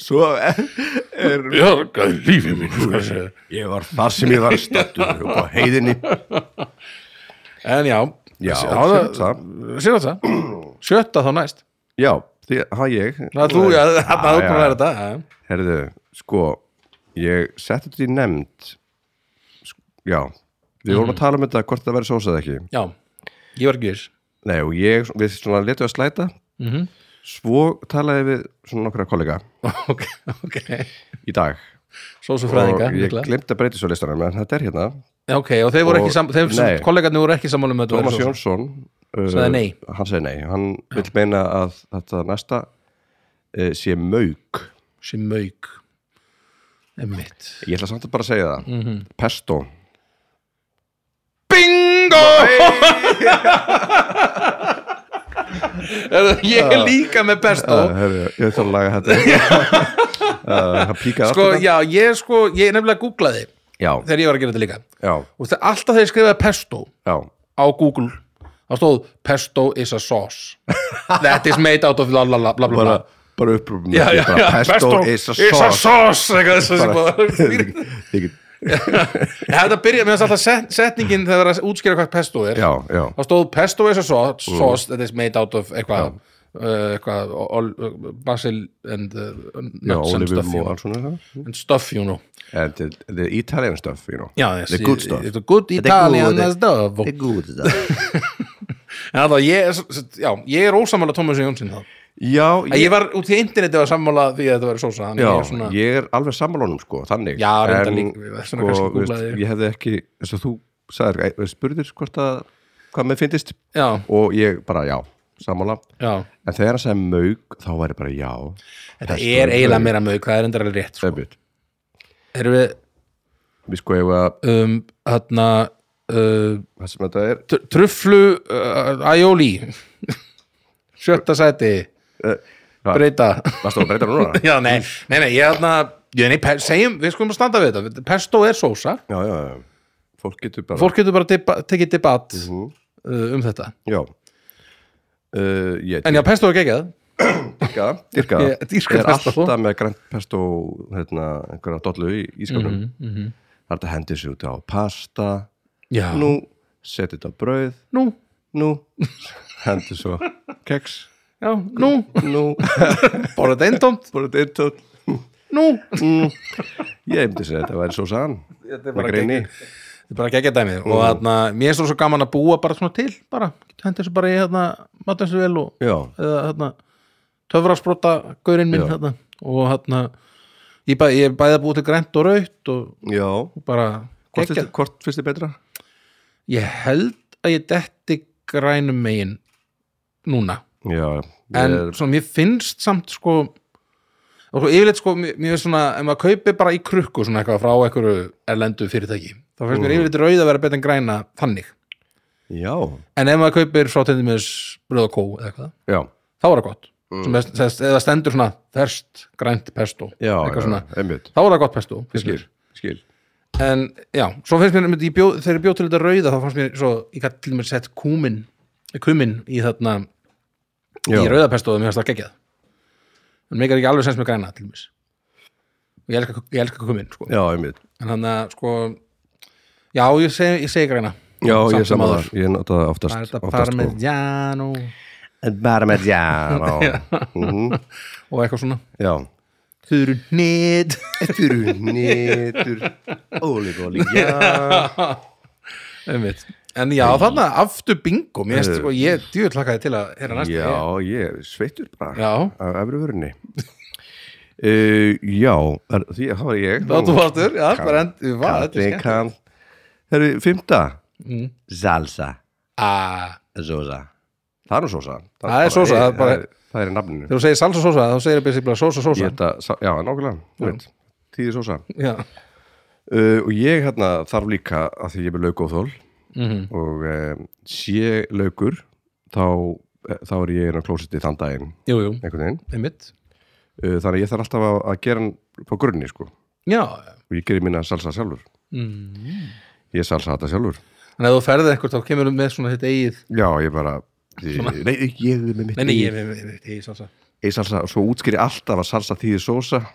S1: svo er
S2: Já, hvað er lífið sko. mín hvað sé ég?
S1: ég var þar sem ég var stættur og á heiðinni
S2: En já,
S1: Já,
S2: sér aðsa Sjötta þá næst
S1: já, því, það ég
S2: Það er þú, já, það er
S1: já.
S2: bara þetta já.
S1: herðu, sko ég setti þetta í nefnd sk- já, við vorum að tala um þetta hvort það verið sósað ekki
S2: Já, ég var ekki viss
S1: Nei, og ég, við svona letum að slæta Svo talaði við svona nokkra kollega
S2: Ok, ok,
S1: í dag
S2: svo sem fræðinga
S1: Og ég
S2: líklega.
S1: glemt að breyti svo listanum En þetta er hérna,
S2: Já, Ok, og þeir voru
S1: Og-
S2: ekki sam, þeir,
S1: Nei.
S2: kollegarnir voru ekki sammála um að þetta væri
S1: Tómas
S2: svo-
S1: Jónsson uh,
S2: Sagði nei.
S1: Hann sagði nei, hann vill meina að þetta næsta uh, sé mauk
S2: sem mauk Einmitt
S1: Ég ætla samt að bara segja það
S2: Mhm.
S1: Pesto
S2: Bingo! Heyrðu, Ég er líka með pesto
S1: uh, heru, Ég ætla að laga þetta uh, Það píkaði
S2: Sko,
S1: allt þetta.
S2: já, ég sko, ég nefnilega googlaði
S1: Já,
S2: þegar ég var að gera þetta líka
S1: já,
S2: og það, alltaf þegar ég skrifaði pesto
S1: já
S2: á Google þá stóð pesto is a sauce that is made out of la la la bla bla bla
S1: Bara, bara upprúfum
S2: Já, já, já,
S1: Pesto is a
S2: is a
S1: sauce
S2: sauce eitthvað svo sem bara-
S1: Ég get-
S2: Ég hefði að byrja með alltaf set, setningin þegar það er að útskýra hvað pesto er
S1: Já, já
S2: þá stóð pesto is a sauce,
S1: Mm.
S2: sauce that is made out of eitthvað uh, eitthvað all, uh, basil and uh,
S1: Já,
S2: nuts and stuff
S1: Olivum
S2: you
S1: og
S2: know.
S1: alls svona Eh,
S2: and stuff you know
S1: And the, the Italian stuff, you know
S2: Já, yes,
S1: The good stuff
S2: the good Italian stuff en
S1: good stuff
S2: þannig að ég, er s- s- já, ég er ósammála Thomas Jónsson þá
S1: Já,
S2: En
S1: ég,
S2: ég var út í interneti að sammála því að þetta var sósa þannig
S1: já
S2: að ég er svona,
S1: ég er alveg sammálunum, sko, þannig
S2: Já, reyndar
S1: En,
S2: líka, við- svona
S1: sko,
S2: kannski
S1: veist,
S2: googlaði.
S1: Ég hefði ekki, þess að þú sagðir, eh, spurðir hvort að hvað með fyndist
S2: já,
S1: og ég bara, já, sammála
S2: já
S1: En þegar hann sagði mauk, þá væri bara já
S2: þetta er eiginlega meira mög, það er endur alveg rétt sko.
S1: Öfut
S2: erum við
S1: Við sko eigum að,
S2: um, hérna uh,
S1: það sem þetta er
S2: tr- truflu uh, aioli sjötta sæti
S1: hvað?
S2: breyta
S1: Varstu að breyta núna?
S2: já, nei, nei, nei, ég þarna ég, nei, pe- segjum, við skulum að standa við þetta pesto er sósa,
S1: Já, já, já Fólk getur bara
S2: fólk getur bara deba, tekið debatt
S1: Mhm.
S2: uh, um þetta
S1: Já uh, ég,
S2: en já, pesto er geggjað
S1: dyrka það, dyrka það.
S2: Ég dýrka
S1: er
S2: pesto.
S1: alltaf með grænt pesto hérna, einhverja dollu í ískapnum mm -hmm.
S2: mhm.
S1: það er hægt að hendi sig út á pasta
S2: Já,
S1: nú, setja þetta á brauð
S2: nú,
S1: nú, hendi svo keks,
S2: já, nú
S1: nú
S2: Borða þetta eintómt,
S1: bara þetta einn tótt
S2: nú
S1: ég hefndi segja þetta væri svo sann
S2: Þetta
S1: með greini
S2: Þetta er bara geggja dæmið og þarna, mér er svo, svo gaman að búa bara svona til bara, hendi þessu bara í hérna matansu vel og
S1: já,
S2: eða hérna töfrasprota gaurinn minn
S1: Já.
S2: hérna og hérna ég, bæ, ég er bæði að búa til grænt og raut og
S1: já
S2: bara
S1: hvort
S2: geggja
S1: finnst, hvort finnst þið betra?
S2: ég held að ég detti grænum megin núna
S1: já,
S2: en
S1: ég er,
S2: svona mér finnst samt sko og svo yfirleitt sko mér, mér finnst svona ef maður kaupir bara í krukku svona eitthvað frá einhverju erlendu fyrirtæki þá finnst mér yfirleitt rauð að vera betur en græna þannig
S1: já,
S2: en ef maður kaupir svo til dæmis bröð og kó eða eitthvað
S1: já
S2: þá er það gott mm. sem, sem, eða stendur svona þerst grænt pesto
S1: já,
S2: eitthvað
S1: já,
S2: svona,
S1: einmitt
S2: þá er það gott pesto
S1: Ég
S2: finnst
S1: skil,
S2: mér.
S1: skil
S2: en já, svo finnst mér einmitt, ég bjó, þegar ég bjó til þetta rauða þá fannst mér svo, ég gæti til mér sett kúmin eh, kumin í þarna
S1: já,
S2: í rauða pestoðu, mér finnst það geggjað en mér er ekki alveg sens með græna til mér og ég elska, ég elska kumin sko.
S1: já, einmitt
S2: en hann að sko já, ég segi, ég segi græna
S1: Já,
S2: Samt
S1: ég er
S2: sem
S1: saman
S2: áður.
S1: þar, ég nota það oftast,
S2: það er þetta
S1: oftast sko.
S2: parmigiano
S1: En bara með jano
S2: og eitthvað svona
S1: Já
S2: þurru nýtt
S1: Brunetur Ólík, ólík, já
S2: Einmitt. En já, þarna aftur bingo Mér veist,
S1: Heyrðu.
S2: sko, ég djúið hlakaði til að heyra næst
S1: Já, ég er sveittur bara
S2: Já,
S1: af efri vörunni uh, Já, er- því það var ég
S2: þá þú vartur, já, bara endur við var, þetta er
S1: Kalli,
S2: skemmt
S1: kall Herru, fymta
S2: Mm.
S1: Salsa,
S2: Ah,
S1: sósa Það er nú sósa
S2: Það er sósa, það er
S1: það
S2: bara-
S1: er- það er í nafninu
S2: Þegar þú segir salsa sósa, þá segir það basically sósa
S1: Ég
S2: sósa
S1: ætla, já, nákvæmlega, þú veit Tíði sósa
S2: Já,
S1: Uh, og ég hérna þarf líka að því ég er með laukóþól
S2: Mhm.
S1: og um, sé laukur þá, eh, þá er ég inn á klósetti þann daginn
S2: jú, jú,
S1: einhvern veginn
S2: einmitt
S1: uh, þannig að ég þarf alltaf að, að gera hann frá grunni sko og
S2: Já,
S1: ég gerir mína salsa sjálfur
S2: mm.
S1: ég salsa þetta sjálfur
S2: en ef þú ferðið eitthvað, þá kemur þú með svona þitt eigið
S1: já ég bara því, nei ég er með mitt
S2: Nei, nei,
S1: eigið-
S2: ég með þitt eigið salsa
S1: eigið salsa og svo útskýri alltaf að salsa þýði sósa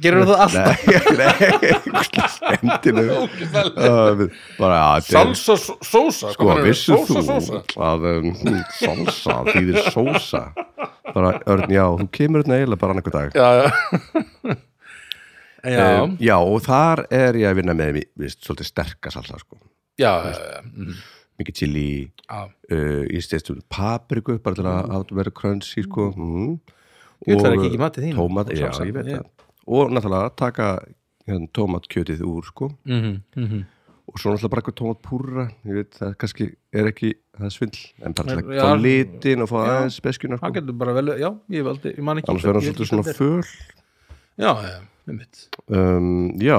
S2: Gerur það alltaf?
S1: endilega uh, bara já, þetta er-
S2: Salsa só- sósa,
S1: Sko,
S2: hvað meinarðu?
S1: vissir þú
S2: Sósa sósa
S1: að um, salsa þýðir sósa? Bara, Örn, já, þú kemur hérna eiginlega bara annað dag.
S2: Já, já Já,
S1: Um, já, og þar er ég að vinna með, viðst, svolítið sterka salsa, sko.
S2: já, já, já, mm,
S1: Mikið chili,
S2: já
S1: uh, ég stedst um papriku, bara til að, að vera crunchy, sko. Mm.
S2: Mm.
S1: eh,
S2: Ég ætlar að kíkja í matinn þín.
S1: Tómat, já,
S2: Salsa,
S1: ég veit
S2: ég-
S1: það. Og náttúrulega taka hérna, tómatkjötið úr, sko.
S2: Mhm, mhm.
S1: Og svo náttúrulega bara eitthvað tómatpúrra, ég veit, það kannski er ekki, það er svindl. En bara til að
S2: Já.
S1: fá litin og fá aðeins beskjuna,
S2: Það
S1: sko.
S2: getur bara vel, já, ég valdi, ég man ekki
S1: Annars verður hann
S2: ég-
S1: svolítið svona föl.
S2: Já, já, með mitt
S1: Um, já,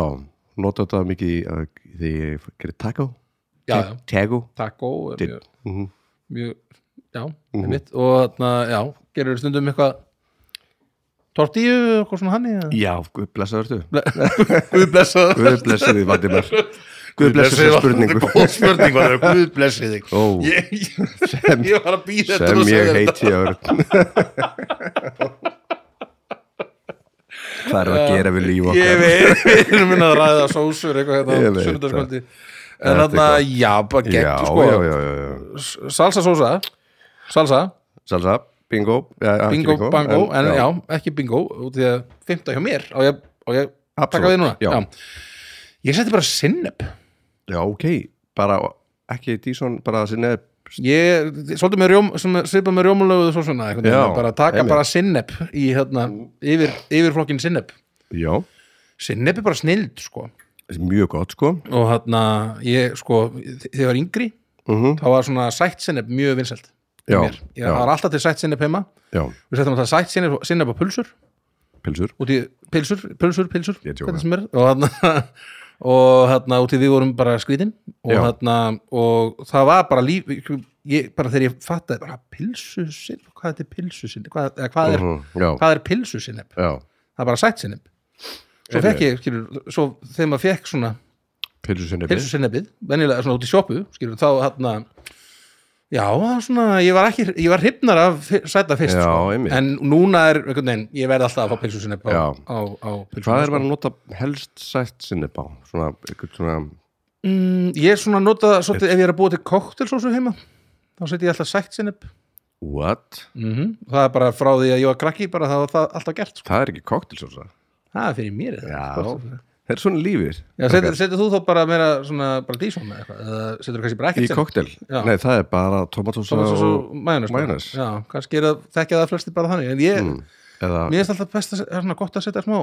S1: nota þetta mikið í, uh, þegar ég gerir taco
S2: Já, já,
S1: Taco
S2: taco er
S1: Dill.
S2: mjög,
S1: Mhm.
S2: mjög, já, með mitt Og þarna, já, gerir stundum eitthvað Tortíu, eitthvað svona hann eða?
S1: Já, guð blessa þurftu
S2: Guð blessa það
S1: Guð blessa þið, Valdimar Guð blessa þið spurningu
S2: Góð spurning var það, guð blessa þig
S1: Ó,
S2: Ég, ég, ég var að býða
S1: sem ég heiti Örn Hvað er að gera við líf
S2: Eh, Ég
S1: okkar?
S2: veit, við erum minna að ræða sósur eitthvað
S1: Ég
S2: hérna á
S1: veit
S2: sunnudagskvöldi En
S1: Þetta er
S2: þarna,
S1: gott.
S2: já, bara
S1: Já,
S2: gegn, sko
S1: já, já, já, já.
S2: S- Salsa sósa, salsa
S1: Salsa, bingo ja, ekki
S2: bingo, bango, en, já.
S1: já,
S2: ekki bingo út því að fymta hjá mér og ég, og ég
S1: Absolutt,
S2: taka við núna
S1: já.
S2: ég seti bara sinneb
S1: já, ok, bara ekki díson, bara sinni
S2: ég, svolítið með rjóm sem svipa með rjómulöguðu svo svona einhvern
S1: Já,
S2: veginn, bara taka
S1: einmitt.
S2: bara sinneb í hérna, yfir, yfir flokkin sinneb
S1: Já,
S2: sinneb er bara snild, sko
S1: mjög gott sko
S2: og hérna, ég, sko þegar ég var yngri,
S1: mm
S2: þá var svona sætt sinneb mjög vinsælt
S1: Já,
S2: mér. ég
S1: já.
S2: var alltaf til sætt sinneb heima
S1: Já,
S2: við settum alltaf sætt sinneb, sinneb á pulsur
S1: pilsur
S2: út í pilsur, pilsur, pilsur
S1: Ég tjóka.
S2: hvernig sem er og þarna og þarna út í við vorum bara skvítin og
S1: Já.
S2: þarna og það var bara líf ég, bara þegar ég fattaði bara pilsu sinneb, hvað þetta er pilsu sinneb hvað, eða hvað, er,
S1: Mhm, Já,
S2: hvað er pilsu sinneb
S1: já
S2: það er bara sætt sinneb svo
S1: Einmitt.
S2: fekk ég, skilur, svo þegar maður fekk svona
S1: Pilsu sinni
S2: pilsu sinnebið, venjulega svona út í sjoppu skilur, þá þarna Já, það var svona, ég var ekki, ég var hrifnar af fi- sæta fyrst,
S1: Já,
S2: sko.
S1: einmitt.
S2: en núna er, einhvern veginn, ég verð alltaf að fá pilsu sinni á,
S1: Já.
S2: á, á pilsu
S1: Hvað er maður að nota helst sætt sinneb á? Svona, ykkur svona
S2: Mm, ég er svona að nota, það svolítið, ef ég er að búa til koktelsósu heima, þá setjum ég alltaf sætt sinni
S1: What?
S2: það er bara frá því að ég var krakki, bara það var það alltaf gert, sko.
S1: Það er ekki koktelsósa
S2: það er fyrir mér þetta.
S1: Já. Það er svona lífið
S2: Já, setur, setur þú þá bara meira svona, bara dísum eða eitthvað, eða setur kannski bara
S1: Í
S2: ekkert
S1: koktel?
S2: Já.
S1: Nei, það er bara tomatósa
S2: Tómas og
S1: og
S2: majónes
S1: majónes.
S2: sko. Já, kannski er að þekka það flesti bara þannig en ég,
S1: eða
S2: mér finnst alltaf best að, er svona gott að setja smá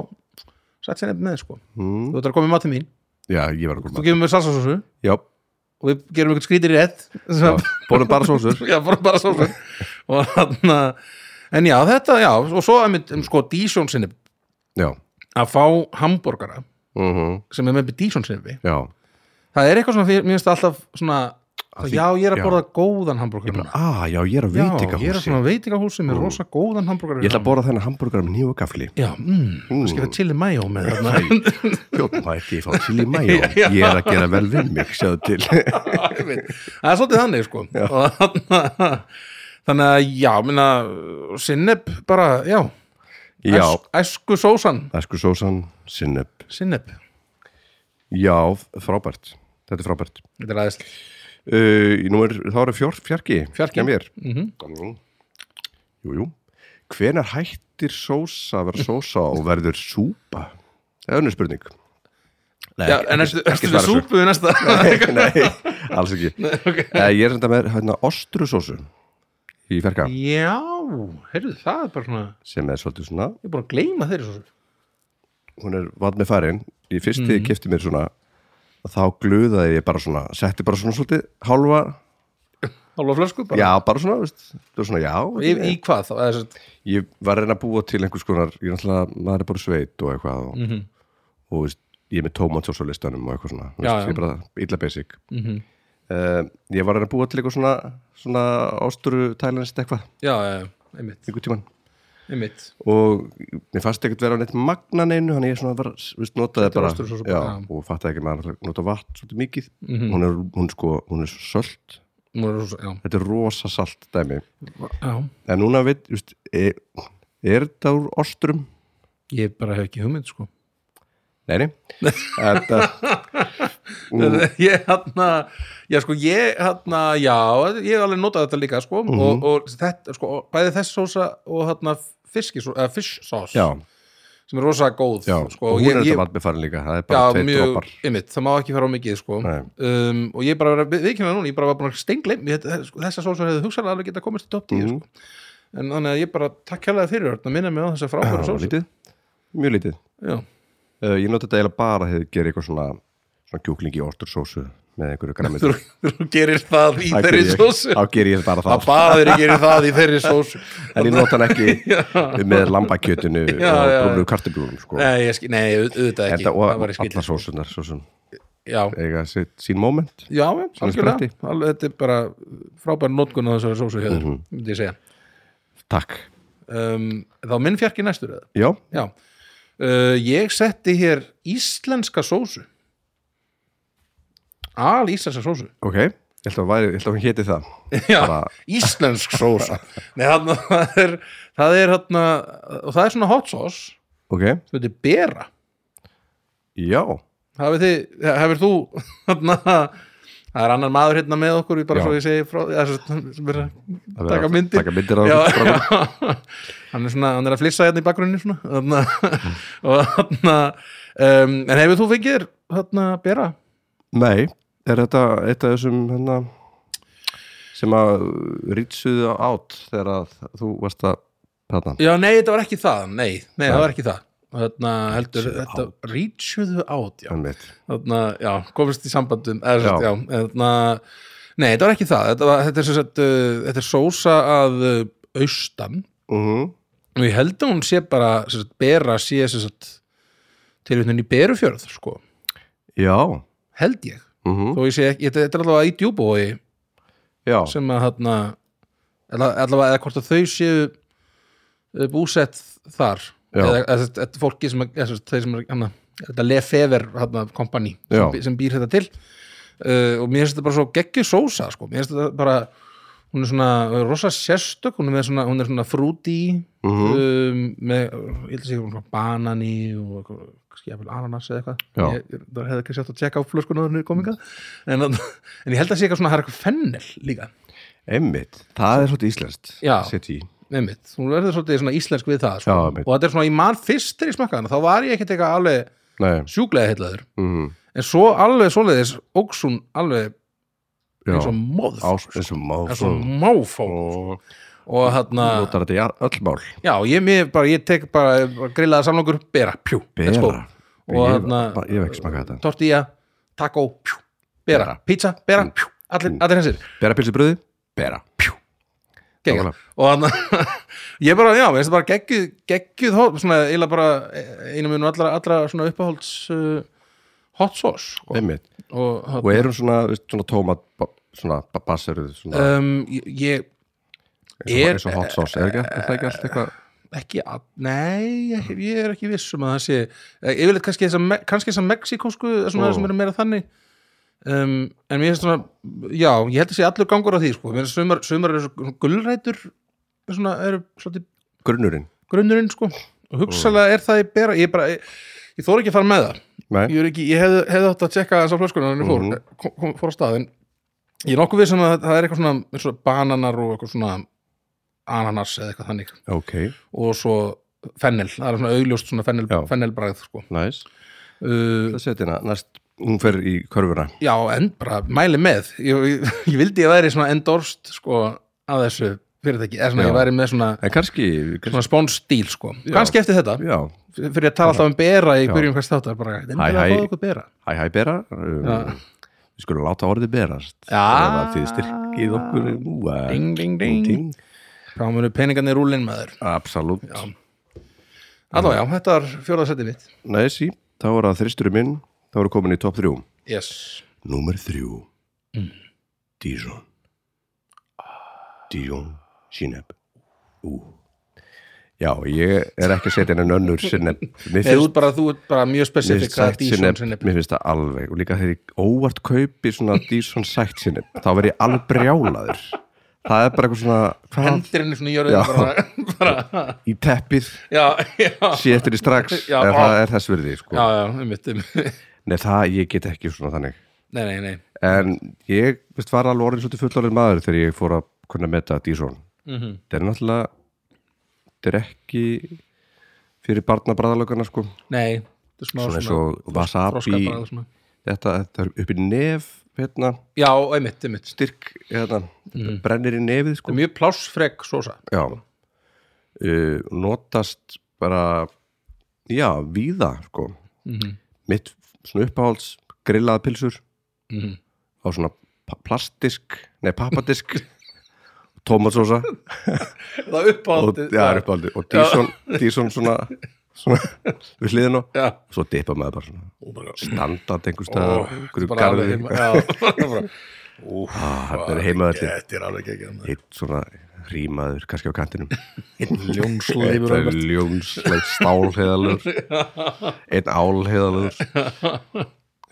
S2: sætt sinni með sko
S1: Mm.
S2: Þú ert að koma í matið mín,
S1: Já, ég var að koma
S2: þú gefur mér salsasósu
S1: Já,
S2: og við gerum eitthvað skrítir í rétt
S1: já.
S2: sem,
S1: Bórum bara sósur
S2: Já, bara, bara sósu og þarna En já, þetta, já, og svo einmitt, um, sko, Dísjón sinni
S1: Já,
S2: að fá hambúrgara
S1: mhm,
S2: sem er með Dísjón sinni
S1: já
S2: Það er eitthvað svona, fyrir- mér finnst það alltaf svona
S1: Að því-
S2: Já, ég er að
S1: já.
S2: borða góðan hambúrgara núna.
S1: Ah, já, ég er að
S2: Já,
S1: veit ekki að
S2: ég er að svona veitingahúsi með rosa góðan hambúrgara
S1: Ég ætla að bóra þennan hambúrgar með nýju gafli
S2: Já, mm, kannski það chili mayo með þarna
S1: Fjóðum að ekki fá til í mæjó
S2: Já.
S1: Ég er að gera vel við mig, sjáðu til
S2: Það er svolítið þannig sko Og þarna- Þannig að já, minna Sinneb bara, já,
S1: Já,
S2: Æsku sósan,
S1: æsku sósan, sinneb
S2: sinneb
S1: Já, frábært, þetta er frábært
S2: Þetta er aðeins
S1: uh, í númer, Þá eru fjór, fjarki
S2: Fjarki.
S1: hjá mér.
S2: Mhm.
S1: Jú, jú, jú Hvenær hættir sósa að vera sósa og verður súpa? Það er önnur spurning Nei,
S2: Já,
S1: ekki-
S2: en
S1: ekki-
S2: ertu
S1: ekki
S2: ertu við
S1: svara þessu.
S2: súpu við næsta
S1: Nei, alls ekki
S2: ok.
S1: Eh, Ég er þetta með hérna, ostrusósu í fjarka
S2: Já, heyrðu það er bara svona
S1: sem er svolítið svona,
S2: Ég er búin að gleyma þeirri sósu
S1: hún er vatn með farin í fyrst
S2: Mhm.
S1: þegar ég kefti mér svona og þá gluðaði ég bara svona setti bara svona svolítið hálfa
S2: Hálfa flösku bara
S1: já, bara svona, veist, það var svona já
S2: Í, í hvað þá? Eða, sem-
S1: ég var að reyna að búa til einhvers konar ég er náttúrulega, maður er bara sveit og eitthvað og,
S2: Mhm.
S1: og veist, ég er með tómatsós á listanum og eitthvað svona, veist,
S2: Já, Mhm. já.
S1: ég er bara illa basic mm ég var að reyna að búa til eitthvað svona svona ásturu tælenskt eitthvað
S2: Já, já, já, einmitt,
S1: einhver tíman
S2: einmitt
S1: og mér fannst ekkert vera á neitt magnan einu þannig ég svona var, veist, notaði bara,
S2: ástríðusósu
S1: já,
S2: bara, Mhm. já.
S1: og fattaði ekki að maður nota vatn svolítið mikið hún, er, hún, sko, hún er svo sölt
S2: Nú er sósa, já,
S1: þetta er rosa salt dæmi
S2: já
S1: en núna veit, veist, er, er þetta úr ostrum?
S2: Ég bara hef ekki hugmynd sko
S1: Nei, nei þetta,
S2: ég hérna já sko ég hérna já ég hef alveg notað þetta líka sko og, og þetta sko bæði þess sósa og hérna fiskisós eða fishsós
S1: já,
S2: sem er rosa góð
S1: já
S2: sko
S1: og hún
S2: ég,
S1: er
S2: ég,
S1: þetta vatn með farin líka það er
S2: já,
S1: bara tveit
S2: mjög
S1: droppar
S2: ymmit það má ekki fara á mikið sko
S1: Nei.
S2: um, og ég bara við, viðkynna núna ég bara var búin að steinglem þessa sósa hefði hugsaðlega alveg geta komist í top 10
S1: Mhm.
S2: sko en þannig að ég bara takk hérlega fyrir Örn, að minna mig á þessa frábæra
S1: já,
S2: sósu
S1: lítið, mjög lítið
S2: já
S1: uh, ég nota þetta eiginlega bara að gera eitthvað svona, svona kjúklingi ostursósu með einhverju græmið
S2: þú, þú gerir það í þeirri sósu
S1: þá ger ég bara það
S2: að baðir gerir það í þeirri sósu
S1: en ég nota hann ekki með lambakjötinu
S2: Já,
S1: og
S2: já, já.
S1: brúnu kartiblúnum sko.
S2: Nei, ég skil, nei, auð- auðvitað ekki
S1: Enda, og
S2: Það sko. var í skil
S1: allar sósunar svo sem
S2: Já,
S1: eiga sitt, sín moment
S2: já, algjörlega
S1: spretti.
S2: Alveg, Þetta er bara frábær notkun á þessari sósu hefur,
S1: Mhm.
S2: myndi ég segja
S1: takk,
S2: um, Þá minn fjarki næstur eða
S1: já,
S2: Já uh, Ég setti hér íslenska sósu Al íslenska sósu
S1: ok ég held að, væri, ég held að hún héti það
S2: Já,
S1: Bara-
S2: íslensk sósa Nei, þarna, það er, það er þarna, og það er svona hot sauce
S1: ok,
S2: sem þetta er bera
S1: já,
S2: Hafið þið, hefur þú þarna, það er annar maður hérna með okkur ég bara
S1: Já.
S2: svo ég segi frá eða, svo- sem er að
S1: að
S2: taka myndir
S1: taka myndir á
S2: já,
S1: þessu strákum.
S2: já. hann er svona, hann er að flissa hérna í bakgrunni svona þarna, og þarna um, en hefur þú fengið þér þarna bera?
S1: nei, er þetta eitt af þessum hérna, sem að rýtsuðu átt þegar að þú varst að þarna,
S2: Já, nei, þetta var ekki það, nei, nei, það var ekki það þarna heldur, þetta rýtsuðu át, já,
S1: einmitt
S2: þarna, já, komist í sambandum eða,
S1: Já.
S2: já. Já, þarna, nei, þetta var ekki það þetta, var, þetta, er, sem sagt, uh, þetta er sósa að uh, austan
S1: uh
S2: Mhm. og ég held að hún sé bara sem sagt, bera sé sem sagt, tilvittun í berufjörð sko.
S1: já,
S2: held ég
S1: uh
S2: þó ég sé ekki, þetta þetta er allavega í djúbói
S1: já,
S2: sem að þarna alla- allavega eða hvort að þau séu eh, búsett þar
S1: Já.
S2: eða eða sem sagt, þetta er fólki sem, að- eða, sem sagt, þeir sem er hana, þetta hérna, Lefever hana, kompani
S1: Já.
S2: hérna Eh, sem, bý- sem býr þetta til uh, og mér finnst þetta bara svo geggju sósa sko. mér finnst þetta bara hún er svona rosa sérstök hún er, með svona, hún er svona frúti
S1: Mhm.
S2: um, með, ég held að segja svona banani og eitthvað, kannski jafnvel ananas eða eitthvað,
S1: Já.
S2: ég, ég- það hefði ekki sjátt að tjekka á flöskuna þannig komingað en, en ég held að sé eitthvað svona, það er eitthvað fennel líka,
S1: Einmitt, það er svolítið íslenskt
S2: Já.
S1: City.
S2: einmitt, hún verður svolítið svona íslensk við það, sko.
S1: Já, einmitt.
S2: og þetta er svona ég man fyrst þegar ég smakkaði hana, þá var ég ekkert eitthvað alveg
S1: Nei,
S2: sjúklega heitlaður
S1: mm,
S2: en svo alveg svoleiðis óks hún alveg
S1: já
S2: eins og móð
S1: Ás, eins og má
S2: eins og Ah. máfó
S1: og
S2: og þarna,
S1: notar þetta í a- öll mál
S2: já, ég, mér, bara, ég tek bara grillaða samlangur, bera, pjú let's go.
S1: Bera,
S2: og
S1: Ég-
S2: þarna
S1: bara- ég hef ekki smakað þetta.
S2: tortilla, taco, pjú, bera,
S1: Bera.
S2: pizza, bera, pjú, allir, allir hensir
S1: bera pilsi bröði, bera
S2: Geggjað.
S1: Nákvæmlega.
S2: og hann ég bara, já, veist bara geggjuð geggjuð hóp, svona eiginlega bara eh, einu munu allra, allra svona uppáhalds uh, hot sauce sko.
S1: Einmitt,
S2: og
S1: og erum svona, veist, svona tómat ba- svona ba- basseruð svona,
S2: um, ég- ég er
S1: uh, eins og hot sauce, er ekki, er það ekki allt eitthvað
S2: ekki, að, nei, ég, ég er ekki viss um að það sé, eh, yfirleitt kannski þess að kannski þess að mexikósku, svona
S1: Ó.
S2: sem eru meira þannig um, en mér finnst svona já, ég held að sé allur gangur á því sko, mér finnst sumar, sumar eru svona gulrætur svona eru svolítið
S1: grunnurinn,
S2: grunnurinn sko, og
S1: Mm.
S2: hugsalega er það ég bera, ég bara, ég, ég þóra ekki að fara með það
S1: nei,
S2: ég, er ekki, ég hefði hef átt að tjekka þess að flöskuna þannig fór,
S1: Mhm.
S2: mm kom, kom, fór á staðin ég er nokkuð við sem að það er eitthvað svona, eins og bananar og eitthvað svona ananas eða eitthvað þannig
S1: ok,
S2: og svo fennel, það er svona augljóst svona fennel,
S1: Já.
S2: fennelbragð sko.
S1: nice
S2: uh,
S1: það setja hérna, næst, hún fer í körfuna
S2: já, en bara mæli með ég, ég, ég vildi ég væri svona endorst sko, að þessu fyrirtæki eða svona
S1: Já.
S2: ég væri með svona,
S1: en kannski, kannski
S2: svona spónstíl sko. kannski eftir þetta,
S1: já,
S2: fyrir að tala alltaf um bera í
S1: Já.
S2: byrjum hvers þáttar bara, þetta er
S1: hæ.
S2: að fá okkur bera
S1: hæ hæ bera um,
S2: Já.
S1: við skulum láta orðið berast Þannig
S2: já,
S1: að þið styrkið okkur núa
S2: ding, ding, ding þá munu peningarnir rúlinn maður
S1: absolutt,
S2: allavega, já, þetta er fjóðarsettið mitt
S1: næsi þá er það þristurinn minn, þá er það komin í top 3
S2: yes,
S1: Númer þrjú Mm. Dijon Dijon Sineb Ú. Já, ég er ekki að setja hennan önnur Sineb Mér
S2: eða
S1: finnst,
S2: út bara, þú ert bara mjög
S1: mér
S2: spesifik
S1: finnst
S2: hvað er
S1: sætt
S2: dísjón
S1: Sineb
S2: sinneb
S1: Mér finnst það alveg Og líka þegar ég óvart kaupi svona Dijon sætt Sineb Þá verð ég alveg brjálaður Það er bara eitthvað svona hvað,
S2: hendir henni svona í jörðu bara, bara,
S1: Í teppið,
S2: já, já
S1: sé eftir því strax
S2: Já,
S1: En
S2: á.
S1: það er þess virði sko.
S2: já, já, einmitt, einmitt.
S1: Nei, það ég get ekki svona þannig
S2: nei, nei, nei
S1: en ég veist, var alveg orðin svolítið fullorðin maður þegar ég fór að kunna metta Dísson mm -hmm. þetta er náttúrulega þetta er ekki fyrir barnabræðalögana sko
S2: nei, þetta er smá
S1: svona eins
S2: svona
S1: og wasabi
S2: froskabragð svona.
S1: þetta, þetta er upp í nef hérna,
S2: já, einmitt, einmitt þetta
S1: styrk hérna, þetta brennir í nefið sko
S2: er mjög plássfrek sósa
S1: já uh, notast bara já, víða sko mitt svona uppáhalds grillaða pilsur
S2: Mhm.
S1: á svona pa- plastdisk nei, pappadisk tómatsósa
S2: það
S1: og,
S2: uppátti
S1: já, uppáhaldi, og díson, díson svona, svona við hliðin og
S2: já,
S1: svo dippa maður bara svona standart einhvers
S2: Ó,
S1: staðar,
S2: þetta er
S1: einhverju
S2: bara alveg
S1: garði
S2: heima já, bara- Úff,
S1: þetta er heimaðalli
S2: þetta er alveg ekki
S1: eitt svona rímaður kannski á kantinum
S2: ljónsleifur
S1: eitt ljónsleif stálheðalur einn álheðalur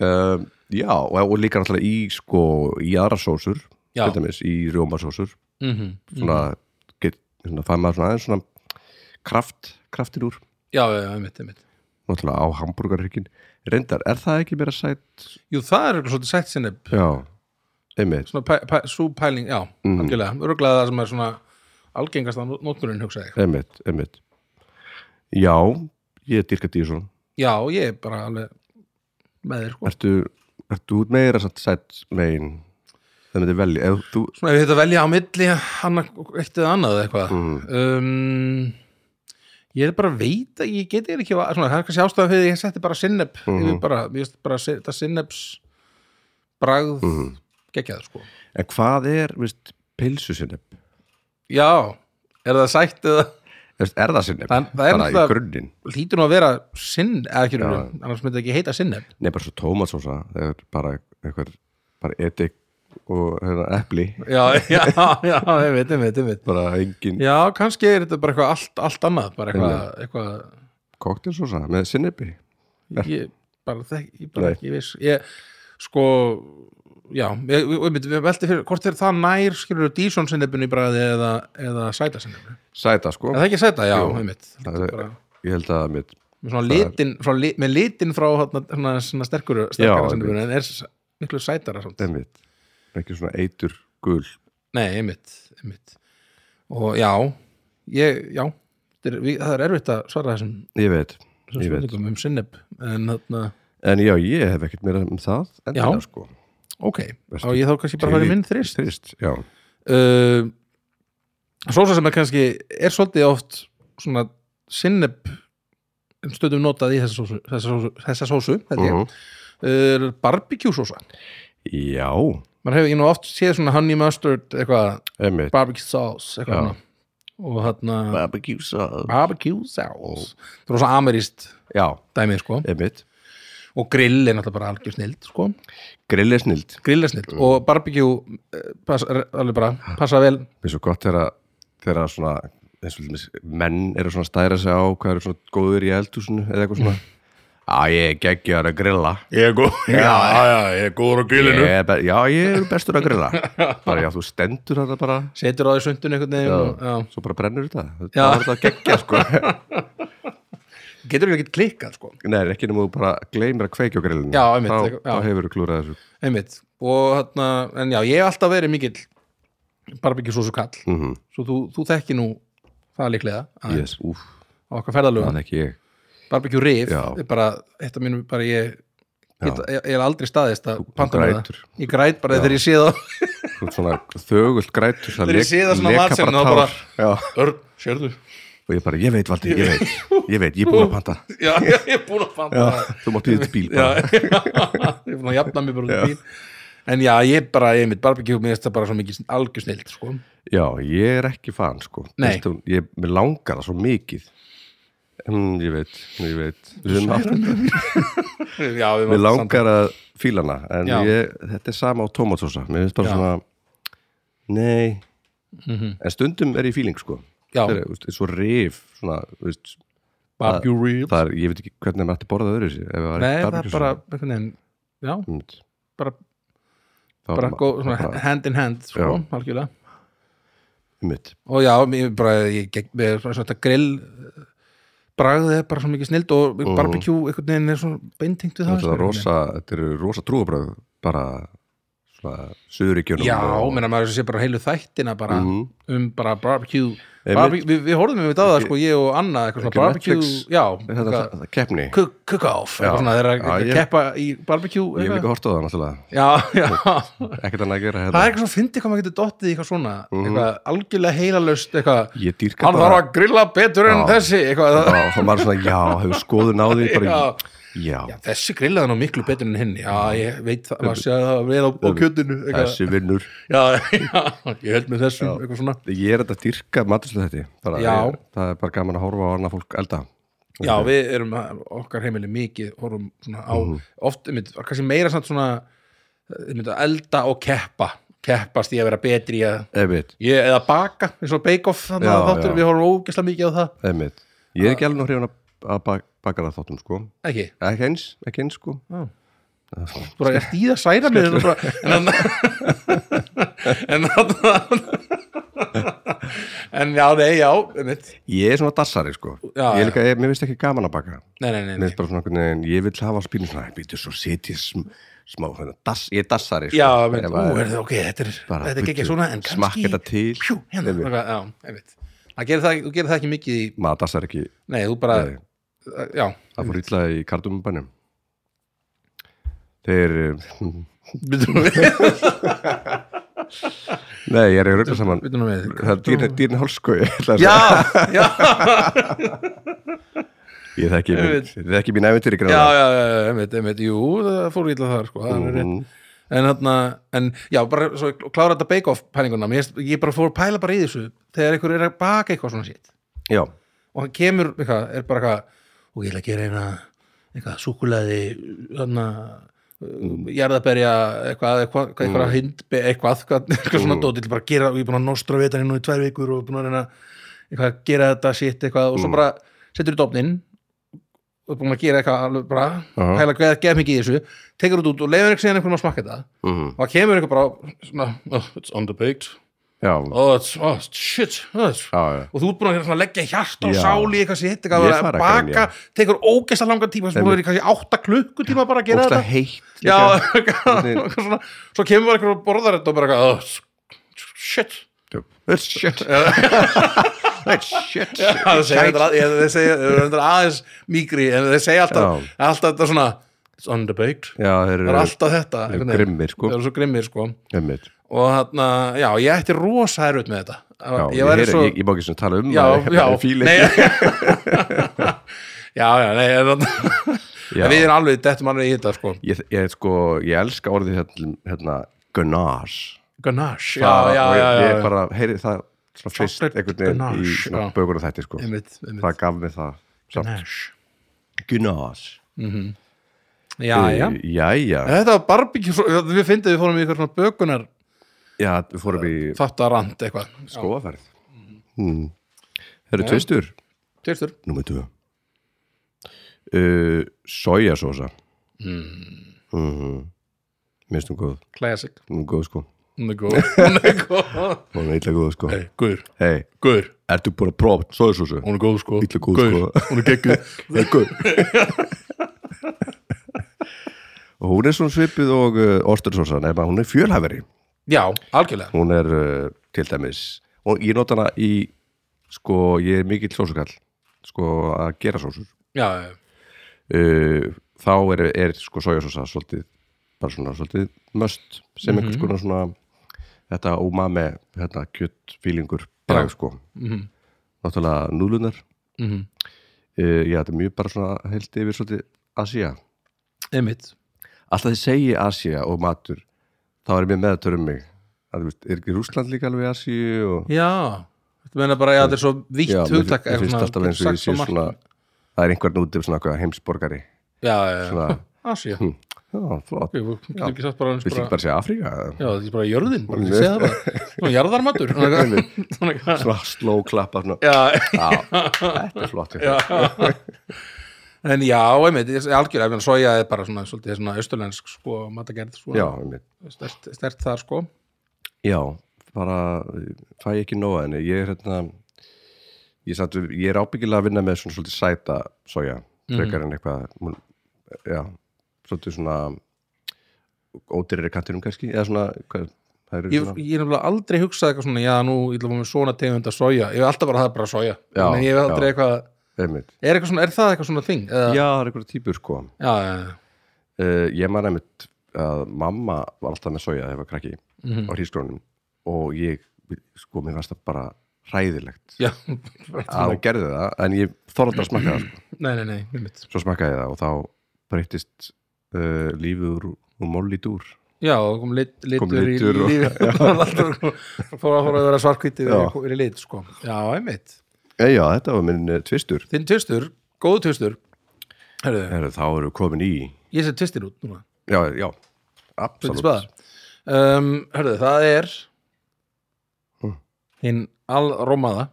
S1: um, já og, og líka náttúrulega í sko í aðra sósur
S2: Já.
S1: til dæmis, í rjómasósur
S2: Mhm.
S1: svona, get, svona fæ maður svona aðeins svona kraft, kraftin úr
S2: já, já, já, einmitt, einmitt
S1: náttúrulega á hambúrgarrykkin reyndar, er það ekki meira sætt
S2: jú, það er eitthvað svolítið sætt sinneb
S1: já, einmitt
S2: svona pæ- pæ- sú pæling, já, algjörlega örgulega það sem er svona algengast á nótmurinn hugsaði ég.
S1: einmitt, einmitt já, ég dyrka dísun
S2: já, ég er bara alveg með þér sko
S1: ertu, ertu út meira sætt, sætt megin það myndi velja, ef þú
S2: Svona ef þetta velja á milli annar, eitt eða annað eða eitthvað um, Ég er bara að veita ég get ég ekki, svona, það er kannski ástæðan fyrir því að ég setti bara sinneb mm -hmm. bara, ég veist bara þetta sinneps bragð mm -hmm. geggjað sko
S1: en hvað er, veist, pilsusinneb
S2: Já, er það sætt eða
S1: er það sinneb,
S2: Það- það er
S1: bara
S2: náttúrulega-
S1: í grunninn
S2: hlýtur nú að vera sinn, eða ekki ja. annars myndi ekki heita sinneb
S1: Nei, bara svo tómatsósa það er bara eitthvað bara etik og hérna, epli
S2: Já, já, já, ég veit, ég veit, ég veit
S1: bara engin
S2: Já, kannski er þetta bara eitthvað allt, allt annað bara eitthvað, eitthvað
S1: koktelsósa með sinnebi
S2: ég bara þekki, ég bara
S1: Nei.
S2: ekki viss ég, sko já, ég, ég, ég, ég velti fyrir hvort er það nær skilur dísón sinnefinu í bræði eða, eða sæta sinnefinu,
S1: sæta sko
S2: er það ekki sæta? Já,
S1: Jú.
S2: einmitt
S1: Það er-
S2: bara,
S1: ég held að mitt
S2: með svona litin frá, li, með litin frá hana, hana, svona sterkuru,
S1: Já,
S2: sterkara sinnefinu en er s- miklu sætara samt
S1: einmitt, ekki svona eitur gul
S2: Nei, einmitt, einmitt og já, ég, já þetta er- við- það er erfitt að svara þessum,
S1: ég veit,
S2: þessum
S1: ég veit
S2: spurningum um sinneb en þarna,
S1: en já, ég hef ekkert meira um það endilega,
S2: Já.
S1: sko.
S2: ok
S1: Veistu,
S2: á ég þá kannski bara að fara í minn þrist
S1: þrist, já,
S2: uh, sósa sem er kannski er svolítið oft svona sinneb stöðum notað í þessa sósu, þessa sósu, þessa sósu held ég,
S1: Mhm.
S2: er barbecue sósa
S1: já
S2: maður hefur, ég nú oft séð svona honey mustard eitthvað,
S1: einmitt,
S2: barbecue sauce eitthvað
S1: Já.
S2: annað. og þarna
S1: barbecue sauce
S2: barbecue sauce það er svo ameríst
S1: já,
S2: dæmið sko
S1: einmitt,
S2: og grill er náttúrulega bara algjör snild sko.
S1: grill er snild
S2: grill er
S1: Mm.
S2: snild og barbecue eh, pass, er alveg bara, passa vel
S1: mér er svo gott þegar þegar svona eins og til dæmis, menn eru svona að stæra sig á hvað eru svona góður í eldhúsinu eða eitthvað svona að ég er geggjar að grilla
S2: ég er góð, já, já, já, ég er góður á
S1: ég er be- já ég er bestur að grilla bara já þú stendur þetta bara
S2: setur á því sundun einhvern veginn og, já.
S1: svo bara brennur þetta
S2: Já.
S1: það var þetta að geggja sko
S2: getur ekki ekkert klikkað sko.
S1: nei ekki nema þú bara gleymir að kveikja á grillinu
S2: Já, einmitt,
S1: þá,
S2: eitthvað- já.
S1: þá hefur þú klúrað þessu
S2: einmitt og hérna, en já, ég hef alltaf verið mikill barbecue sósu kall
S1: mm -hmm.
S2: svo þú, þú þekki nú það líklega aðeins
S1: yes, úf,
S2: á okkar ferðalöfum,
S1: það er ekki ég
S2: barbecue rif
S1: Já.
S2: er bara, þetta mínum bara ég Get,
S1: Já.
S2: ég ég er aldrei staðist að panta mér það
S1: grætur.
S2: ég græt bara þegar ég sé það
S1: Þú ert svona þögult grætur það
S2: Þegar ég
S1: lek-
S2: sé það svona
S1: leka
S2: matsinn, þá
S1: tár.
S2: bara-
S1: Já.
S2: Örn, sérðu?
S1: og ég bara ég veit Valdi, ég veit ég veit, ég er búin að panta
S2: Já, ég er búin að fanta það
S1: þú mátt býða til bíl
S2: Já,
S1: bara
S2: ég er búin að jafna mig bara út í bíl En já, ég bara, ég mitt barbecue mér finnst það bara svo mikið algjör snilt sko.
S1: Já, ég er ekki fan sko
S2: Nei.
S1: Veistu, ég, Mér langar það svo mikið mm, Ég veit, ég veit Við höfum haft-
S2: Já, við
S1: Mér langar að fíla hana En
S2: Já.
S1: ég, þetta er sama á tomatsósa Mér finnst bara
S2: Já. Mhm.
S1: svona Nei En stundum er ég fíling sko
S2: Já.
S1: Það er þú veist, er svo rif svona, þú veist,
S2: barbecue ribs
S1: það er, Ég veit ekki hvernig maður ætti að borða það öðru Nei,
S2: Nei, það er bara, einhvern veginn Já, bara, bara góð, svona hand in hand sko,
S1: Já.
S2: algjörlega
S1: Mitt
S2: Og já, ég bara, ég gegn mér svona þetta grill eh, bragðið er bara svo mikið snilt og barbecue einhvern veginn er svona beintengt við það
S1: Þetta
S2: sko,
S1: er rosa, þetta eru rosa trúabröð bara svona suðuríkjunum
S2: Já,
S1: og-
S2: menna maður sé bara heilu þættina bara
S1: Mhm.
S2: um bara barbecue,
S1: Einmitt.
S2: barbecue við, við horfum við það sko, ég og Anna eitthvað svona
S1: Ekki
S2: barbecue,
S1: Netflix?
S2: já
S1: Þetta er það- það er keppni
S2: cook- cook-off,
S1: Já.
S2: eitthvað svona þeirra
S1: Já,
S2: að
S1: ég-
S2: keppa í barbecue
S1: Ég hef
S2: eitthvað.
S1: líka hort á það náttúrulega
S2: Já, já
S1: Ekkert annað að gera
S2: Það er
S1: hérna
S2: eitthvað svona fyndið hvað maður getur dottið í eitthvað svona eitthvað algjörlega heilalaust eitthvað,
S1: Mhm. Ég dýrka
S2: hann þarf
S1: bara-
S2: að grilla betur en
S1: Já.
S2: þessi eitthvað,
S1: Já, og maður er svona, já, hefur skoðun á því bara, já,
S2: já, þessi grillaði nú miklu betur en hinn já, ég veit það, maður sé að það við á, á kjötinu eitthvað,
S1: þessi vinnur
S2: já, já, ég held með þessum eitthvað svona
S1: Ég er þetta að dýrka maturslega þetta bara,
S2: Já.
S1: ég, Það er bara gaman að horfa á annað fólk elda
S2: Já, við erum að- okkar heimili mikið horfum svona á,
S1: Mhm.
S2: oft einmitt, kannski meira samt svona eh, einmitt, að elda og keppa keppast í að vera betri í að
S1: Einmitt,
S2: ég, eða baka, eins og bake off þannig að
S1: Já,
S2: þáttur,
S1: já.
S2: við horfum ógeðslega mikið á það
S1: einmitt Ég er ekki alveg nú hrifun að- að bak, bakara þáttum, sko
S2: ekki,
S1: Ekki eins, ekki eins, sko
S2: Já. þú bara ert í það særa mig þú bara, en en en, en já, nei, já einmitt.
S1: Ég er svona dassari, sko
S2: Já,
S1: Ég er líka, ég, mér finnst ekki gaman að baka
S2: nei, nei, nei,
S1: Mér
S2: nei.
S1: finnst bara svona, einhvern veginn, ég vil hafa spínu svona, býtu svo setjið sm, smá, hérna, dass, ég er dassari, sko
S2: já, einmitt,
S1: Ef
S2: ú,
S1: að-
S2: er það ok, þetta er,
S1: bara,
S2: þetta er ekki
S1: bíddu,
S2: svona en kannski,
S1: smakka þetta til.
S2: pjú, hérna,
S1: Einmitt.
S2: eitthvað, já, einmitt Það gerir það, þú gerir það ekki mikið í
S1: maður dassar ekki
S2: Nei, þú bara, Eh,
S1: Nei.
S2: já,
S1: það fór illa í kardumumbænum þeir eh,
S2: byttum við
S1: nei, ég er í rögla saman
S2: Byttum við
S1: það er dýrni, dýrni hálsko ég ætla að
S2: Já,
S1: segja.
S2: já,
S1: ég þekki
S2: Ég
S1: mín,
S2: veit.
S1: ég þekki mín æventyri
S2: já,
S1: grannar.
S2: já, já, einmitt, einmitt, jú, það fór ítla þar, sko, það er
S1: Mhm.
S2: rétt En þarna, en já, bara svo ég klára þetta bake-off pælinguna mér, Ég bara fór að pæla bara í þessu Þegar einhver er að baka eitthvað svona sitt
S1: já,
S2: Og hann kemur, eitthvað, er bara eitthvað Og ég ætla að gera eina, eitthvað, súkulaði, þarna jarðaberja, eitthvað eitthvað, eitthvað, eitthvað hindbe, eitthvað eitthvað, eitthvað svona dót, ég ætla bara að gera og ég er búin að nostra við þetta nú í tvær vikur og búin að reyna eitthvað að gera þetta sitt eitthvað og svo bara setur þú dofnin og er búin að gera eitthvað alveg bara
S1: Aha.
S2: hæla gæða, geða mikið í þessu, tekur þetta út og leifir eitthvað síðan einhverjum að smakka þetta
S1: Mhm.
S2: og það kemur eitthvað bara svona, oh, it's underbaked
S1: já,
S2: oh, it's, oh, it's shit oh, it's.
S1: já, já
S2: og þú ert búin að hérna svona leggja hjart og
S1: Já.
S2: sál í eitthvað sitt,
S1: Ég
S2: eitthvað að
S1: fara að
S2: baka tekur ógeðslega langan tíma, sem búin að vera í kannski átta klukkutíma bara að gera
S1: Ógeðslega
S2: þetta
S1: heitt
S2: já,
S1: líka.
S2: eitthvað eitthvað svona, svo kemur bara einhver og borðar þetta og bara eitthvað, oh, shit
S1: It's shit It's shit
S2: Já, þeir segja þetta að- ég- þeir segja- þeir eru reyndar aðeins mýgri en þeir segja alltaf, alltaf þetta svona it's underbaked,
S1: Já,
S2: það
S1: þeir
S2: er
S1: eru
S2: alltaf þetta einhvern veginn.
S1: grimmir, sko.
S2: þeir eru svo grimmir sko
S1: Einmitt.
S2: og þarna, já, ég ætti rosa erut með þetta ég
S1: Já, ég,
S2: væri
S1: heyri,
S2: svo
S1: ég, ég má ekki svona tala um
S2: já,
S1: það,
S2: já,
S1: ég fíla
S2: nei,
S1: ekki.
S2: já, já, nei en þarna-
S1: Já.
S2: en við erum alveg, dettum alveg í þetta sko
S1: ég, ég, sko, ég elska orðið hérna, hérna ganache
S2: ganache,
S1: Það-
S2: já, já,
S1: og
S2: já,
S1: ég, ég
S2: já, já.
S1: bara heyri það svona fyrst
S2: Chocolate
S1: einhvern veginn í
S2: ganache,
S1: svona
S2: já.
S1: bögur og þætti sko.
S2: einmitt, einmitt
S1: það gaf mér það samt.
S2: ganache,
S1: ganache
S2: já, já
S1: Eh, jæja,
S2: þetta var barbecue, svo- við fyndum við fórum í eitthvað svona bökunar
S1: já, við fórum í
S2: þáttarand eitthvað,
S1: skoðaferð
S2: Mhm.
S1: hmm.
S2: Eh?
S1: það eru tvistur
S2: tvistur
S1: Númer 2 uh, Sojasósa mm.
S2: Hmm.
S1: Minnst hún góð
S2: classic
S1: Hún er góð sko
S2: Hún er góð Hún er góð
S1: Hún er illa góð sko Hei,
S2: Hey, Guður,
S1: hey,
S2: Guður,
S1: ertu búin að prófa sojasósu?
S2: hún er góð sko
S1: Illa góð,
S2: Gaur,
S1: sko.
S2: Hún er gegguð
S1: Hún er góð Og hún er svona svipuð og uh, ostursósa Nefna hún er fjölhæfari
S2: Já, algjörlega
S1: Hún er uh, til dæmis Og ég nota hana í Sko, ég er mikill sósukall Sko, að gera sósur
S2: Já, já, já.
S1: uh, þá er, er sko sojasósa svolítið, bara svona svolítið möst sem einhvers konar svona þetta umami, þetta kjött fílingur, bragð sko náttúrulega núlunar
S2: Mhm.
S1: uh, já, þetta er mjög bara svona held yfir svolítið Asia
S2: einmitt
S1: alltaf þið segi Asia og matur þá er mér meðatur um mig að, þú veist, er ekki Rússland líka alveg Asi og
S2: Já, þetta meina bara að þetta er svo vítt
S1: já, mér
S2: hugtak
S1: mér
S2: eitthvað
S1: finnst
S2: svona,
S1: alltaf eins og
S2: getur
S1: ég
S2: sagt svo
S1: sé
S2: margt.
S1: svona það er einhvern úti svona eitthvað heimsborgari
S2: Já, já, já,
S1: svona,
S2: Asía
S1: hm, já, flott
S2: Ég get ekki sagt bara eins
S1: Viltu ekki
S2: bara
S1: bara segja Afríka?
S2: Já, þetta er bara jörðin, bara ekki segja það bara Svona jarðarmatur Svona eitthvað- svona eitthvað.
S1: svona slow klappa svona.
S2: Já,
S1: Já, þetta er flott já.
S2: en já, einmitt, ég- algjörlega, ég meina, soja er bara svona, svolítið svona austurlensk, sko, matagerð, sko,
S1: Já, einmitt.
S2: stert, stert þar, sko.
S1: já, bara fæ ég ekki nóg af henni ég er hérna ég, satt, ég er ábyggilega að vinna með svona svolítið sæta soja, frekar en eitthvað mun- já, svolítið svona ódýrari kantinum kannski, eða svona hvað, það eru
S2: ég,
S1: svona
S2: ég er nefnilega aldrei hugsað eitthvað svona já nú ég ætla að fá mér svona tegund að soja ég hef alltaf bara það er bara soja
S1: Já,
S2: Þannig ég hef aldrei
S1: já.
S2: eitthvað
S1: einmitt.
S2: er, eitthvað svona, er það eitthvað svona þing? Eða,
S1: já, það er einhverja típur sko
S2: já, já, já.
S1: uh, ég man einmitt að mamma var alltaf með soja þegar ég var krakki á hrískrónum og ég, sko, mér varst það bara hræðilegt
S2: já.
S1: að hún gerði það, en ég þorði að smakka það sko.
S2: nei, nei, nei, einmitt
S1: svo smakkaði ég það og þá breyttist uh, lífið úr, úr molli dúr
S2: já, og kom lit, litur
S1: Kom litur
S2: í
S1: og-
S2: lífi fór að fór að vera svarkvíti
S1: Já.
S2: og er í lit sko já, einmitt
S1: e, já, þetta var minn uh, tvistur
S2: þinn tvistur, góðu tvistur Herðu,
S1: Heru, þá eru komin í
S2: ég set tvistir út núna
S1: já, já,
S2: Þetta er
S1: absolutt
S2: spaða. um, herðu, það er
S1: Hm.
S2: hinn allrómaða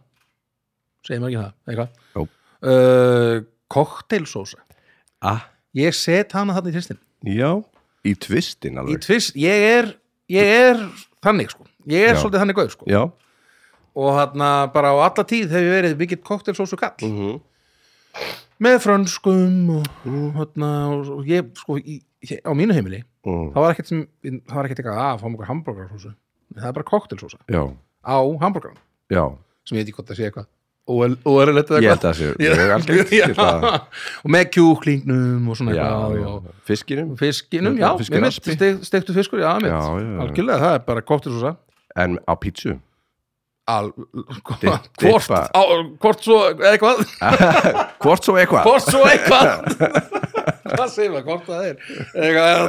S2: segir maður ekki það,
S1: Jó.
S2: eitthvað uh, kokteilsósa
S1: ah,
S2: ég set hana þarna í tvistin
S1: já, í tvistin
S2: í
S1: alveg
S2: tvist, ég er, ég er þannig sko, ég er
S1: Já.
S2: svolítið þannig gauð sko
S1: já,
S2: og þarna bara á alla tíð hef ég verið mikill kokteilsósu kall
S1: Mhm.
S2: með frönskum og, og, þarna, og, og ég sko í, ég, á mínu heimili
S1: mm,
S2: það var ekkert sem, það var ekkert eitthvað "Ah, að fá mjög hambúrgarsósu, það er bara kokteilsósa
S1: já,
S2: á hambúrgaran
S1: já
S2: sem ég veit ekki hvort það sé eitthvað óel- óeðlilegt eða
S1: ég held
S2: eitthvað
S1: að það sé, ég er alveg
S2: Já.
S1: til það
S2: og með kjúklingnum og svona
S1: já,
S2: eitthvað
S1: já,
S2: og
S1: fiskinum
S2: fiskinum, já,
S1: Fiskur
S2: ég
S1: raspi.
S2: mitt stektu fiskur, já, mitt,
S1: Já, já, já.
S2: algjörlega það er bara kóttirsósa
S1: en á pítsu Dip-
S2: hvort,
S1: dippa.
S2: á, hvort svo eitthvað,
S1: hvort svo eitthvað
S2: hvort svo eitthvað hvað segir maður, hvort það er eitthvað,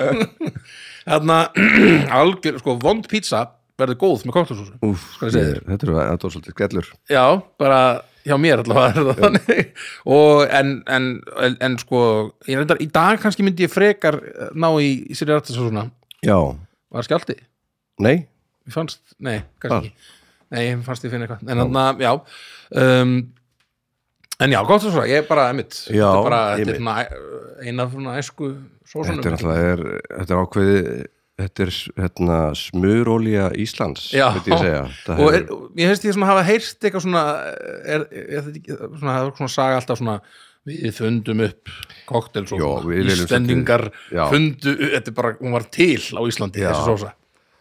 S2: hérna hérna, algjör, sko, vond pizza verður góð með kóttirsósu
S1: Úf,
S2: Hvað
S1: ég,
S2: segirðu?
S1: þetta er þetta var svolítið skellur
S2: Já, bara hjá mér allavega er það þannig og en, en, en, en sko ég reyndar, í dag kannski myndi ég frekar eh, ná í, í sér rættis og svona
S1: já,
S2: var skjálti,
S1: nei,
S2: ég fannst,
S1: Ah.
S2: nei, kannski ekki nei, ég fannst ég finna eitthvað en þannig að, já um, en já, gott og svo, ég er bara emitt
S1: Já,
S2: þetta er bara þetta er
S1: einmitt.
S2: svona eina svona æsku sósunum
S1: Þetta er náttúrulega, er, þetta er ákveði þetta er hérna, smurolja Íslands,
S2: Já,
S1: myndi ég segja Það
S2: og
S1: hefur-
S2: er, ég hefst ég svona hafa heyrst eitthvað svona er, er þetta ekki, svona, það er svona saga alltaf svona við fundum upp koktels
S1: Já,
S2: og
S1: við viljum
S2: Íslendingar
S1: svolítið- já.
S2: fundu, þetta er bara, hún var til á Íslandi
S1: Já.
S2: þessi sósa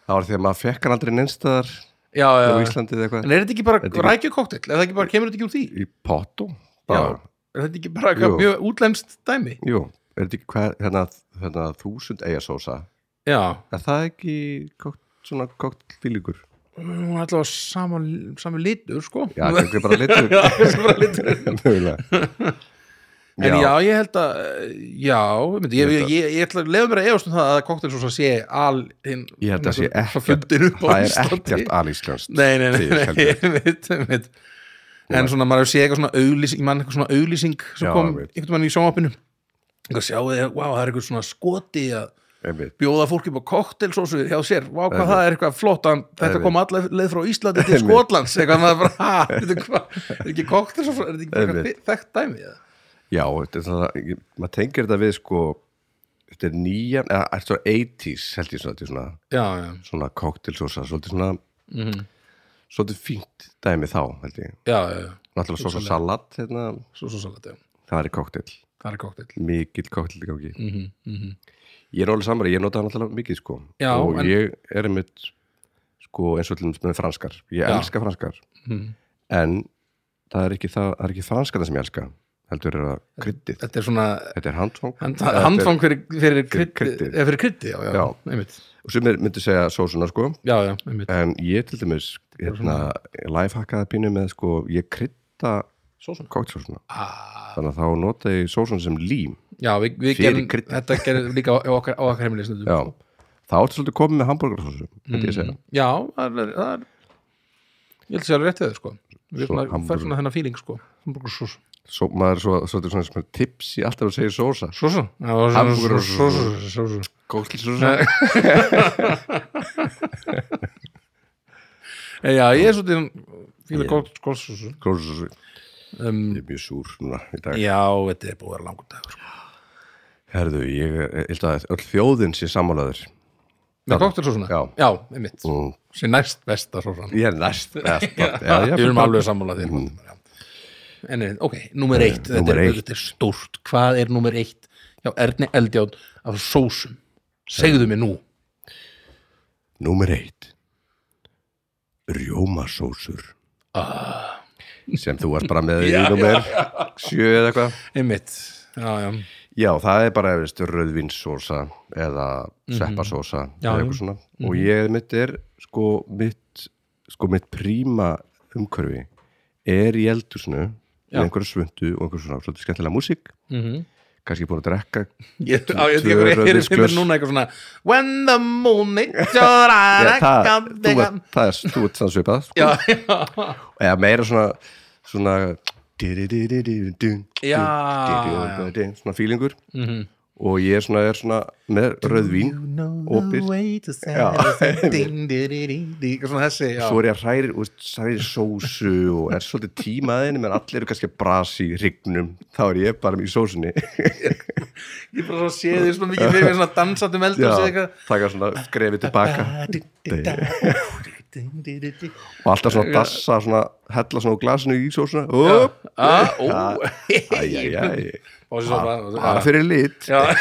S1: það var því að maður fekk hann aldrei neinstæðar
S2: já, já,
S1: á
S2: já.
S1: Íslandi
S2: en
S1: eða eitthvað
S2: er þetta ekki bara
S1: Þetta
S2: ekki...
S1: er-
S2: rækjukoktel er þetta ekki bara, kemur þetta ekki úr því
S1: í pottu
S2: já,
S1: bara,
S2: er þetta ekki bara eitthvað
S1: Jú.
S2: mjög útlenskt dæmi
S1: jú, er þetta ekki hvað, hérna, hérna þúsund eigasósa
S2: já,
S1: er það ekki kokt, svona koktfílíkur
S2: hún er allavega sama, sama litur sko
S1: já, ekki bara litur
S2: Já, það er bara litur
S1: mögulega
S2: En já, ég held að, já, myndi, ég, ég, ég, ég ætla að lefa mér að efast um það að koktelsósa sé al hinn,
S1: Ég held að sé
S2: Það
S1: ekkert-
S2: fundir upp á
S1: það er
S2: Íslandi
S1: ekkert alíslenskt
S2: Nei, nei, nei,
S1: til,
S2: nei,
S1: heldur.
S2: ég veit, ég veit En svona, maður hefur séð eitthvað svona auglýsing, ég man eitthvað svona auglýsing sem
S1: Já,
S2: kom
S1: ég veit.
S2: einhvern veginn í sjónvapinu Eitthvað sjáu þið, vá, það er eitthvað svona skoti að
S1: einmitt
S2: bjóða fólk upp á koktelsósu hjá sér, vá, hvað það er eitthvað flott en þetta
S1: Einmitt.
S2: kom alla leið frá Íslandi til Skotlands eitthvað, maður bara, ha, veitu hvað er ekki koktelsósu, er þetta ekki bara
S1: Einmitt.
S2: eitthvað þekkt dæmi eða?
S1: Já, þetta er það, ég- maður tengir þetta við sko, þetta er nýjan eða er þetta 80s held ég svona, þetta er svona
S2: Já, já, Mhm.
S1: svona koktelsósa, svolítið svona svolítið fínt dæmi þá held ég,
S2: já, já, já.
S1: náttúrulega sósa salat hérna,
S2: svo svo salat, já,
S1: það er koktel
S2: það er koktel
S1: mikill koktel í gangi
S2: Mhm,
S1: ég er alveg samar, ég nota það náttúrulega mikið sko
S2: Já,
S1: og
S2: en-
S1: ég er einmitt sko eins og til dæmis með franskar ég
S2: Já.
S1: elska franskar
S2: mhm.
S1: en það er ekki, það, það er ekki franskar sem ég elska, heldur er það kryddið
S2: Þetta er svona
S1: þetta er handfang
S2: hand,
S1: Þetta er-
S2: handfang fyrir, fyrir krytti
S1: kryddið.
S2: eða fyrir krytti, já, já,
S1: Já.
S2: einmitt
S1: og sem er, myndi segja sósuna sko
S2: Já, já, einmitt
S1: en ég til dæmis hérna, lifehackaði pínu með sko, ég krydda
S2: Sósuna.
S1: koktelsósuna
S2: ah,
S1: þannig að þá nota ég sósun sem lím
S2: Já, við, við gerum,
S1: Fyrir kryddið.
S2: þetta gerum líka á á okkar, á okkar heimilis Já,
S1: já, þá ertu svolítið komið með hambúrgarsósu myndi ég segja,
S2: já það, er, það er Ég held að sé alveg rétt við þau, sko Við
S1: Svo
S2: erum svona,
S1: hamburger.
S2: fær svona þennan feeling, sko Hamburgersós
S1: svo, maður er svo, svolítið svona, svona tips í alltaf að segja sósa
S2: Sósa Já, það var svona-
S1: Hamburgersós.
S2: sósa, sósa.
S1: koktelsósa,
S2: Eh, Já, ég er svolítið
S1: Já.
S2: Fíla sko, kóksósu
S1: kóksósu
S2: um,
S1: ég er mjög súr núna í dag
S2: Já, þetta er búið að vera langur dagur sko.
S1: herðu, ég ég held að öll þjóðin sé sammálaður
S2: Með kóktelsósuna?
S1: Já.
S2: já, einmitt
S1: Mm.
S2: sem næst besta sósan
S1: ég er næst best, bara- já,
S2: við
S1: já,
S2: erum
S1: bara-
S2: alveg sammála þér mm. en eh, ok, númer eitt, þetta,
S1: númer
S2: er,
S1: eitt.
S2: þetta er stórt hvað er númer eitt hjá Erni Eldjátt af sósum, segðu mér nú
S1: Númer eitt Rjómasósur sem þú varst bara með í
S2: Ah. Já,
S1: númer sjö eða eitthvað
S2: einmitt, já, já,
S1: Já, það er bara veist, rauðvinsósa eða sveppasósa
S2: Mhm. Já, Mhm.
S1: eða
S2: já.
S1: eitthvað svona og ég mitt er sko mitt, sko mitt príma umhverfi er í eldusnu
S2: Já. Mhm.
S1: með einhverju svundu og einhverju svona svolítið skemmtilega músík kannski búin að drekka
S2: ég, á, ég, ég,
S1: Tvö
S2: ég, ég er
S1: rauðvínsglös.
S2: mér núna eitthvað svona when the moon is
S1: Já, það, þú
S2: já,
S1: ert- það er stúið þann svipað sko.
S2: já,
S1: eða meira svona svona dun,
S2: Já, Mhm.
S1: dun, dun, svona fílingur og ég svona er svona með rauðvín Opið. Já.
S2: eitthvað svona þessi já.
S1: svo er ég að hræri, úst, hræri sósu og er svolítið tímaðin menn allir eru kannski að brasa í hrygnum þá er ég bara í sósunni
S2: ég bara svo sé því svona mikið fyrir mér svona dansandi meldur og segja eitthvað
S1: taka svona skrefið tilbaka
S2: Ó,
S1: og alltaf svona dassa svona, hella svona úr glasinu í sósuna upp, æjæjæj
S2: og svo
S1: bara
S2: bara
S1: fyrir lit
S2: Já.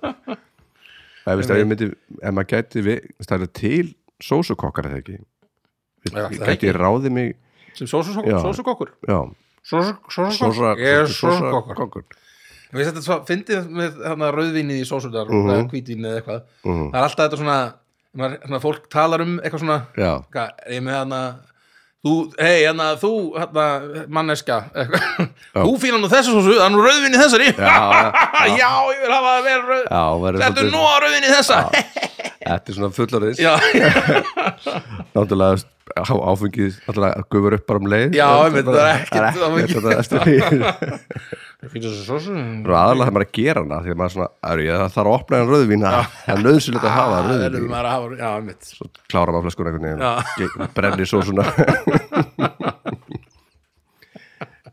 S1: það er veist að ég myndi ef maður gæti við, það er til sósukokkar eða ekki
S2: Já,
S1: Ég
S2: það
S1: gæti ég ráði mig
S2: sem
S1: Já.
S2: sósukokkur
S1: já, sósa-
S2: sósukokkur ég er sósukokkur
S1: kokkur.
S2: við þetta svo fyndið með hana, rauðvinnið í sósunar uh
S1: Mhm.
S2: -huh. hvítvinnið eða eitthvað það er alltaf þetta svona, maður- svona fólk talar um eitthvað svona
S1: já,
S2: hvað, er ég með hana þú, hei, hana, þú hana, manneska eitthvað. þú fílar nú þessu sósu, það er nú rauðvinni þessari
S1: já,
S2: já, ég vil hafa að vera rauð
S1: já verður
S2: Þetta er
S1: svolítið-
S2: nú að rauðinni þessa
S1: Þetta er svona fullarins
S2: Já,
S1: Náttúrulega á áfengið Náttúrulega gufur upp bara um leið
S2: Já,
S1: Það
S2: einmitt,
S1: bara-
S2: það er ekkert
S1: það er
S2: áfengi.
S1: ekkert að- eftir því.
S2: Fyrir þessu sósu
S1: Og aðalega það maður að gera hana Því að maður svona, er ég það þarf að opna en rauðvín Það það er nöðsynlegt að
S2: Ah,
S1: hafa rauðvín
S2: maður að hafa Já, mitt
S1: Svo klára maður flöskun einhvern
S2: Já.
S1: veginn Ge- Brenni svo svona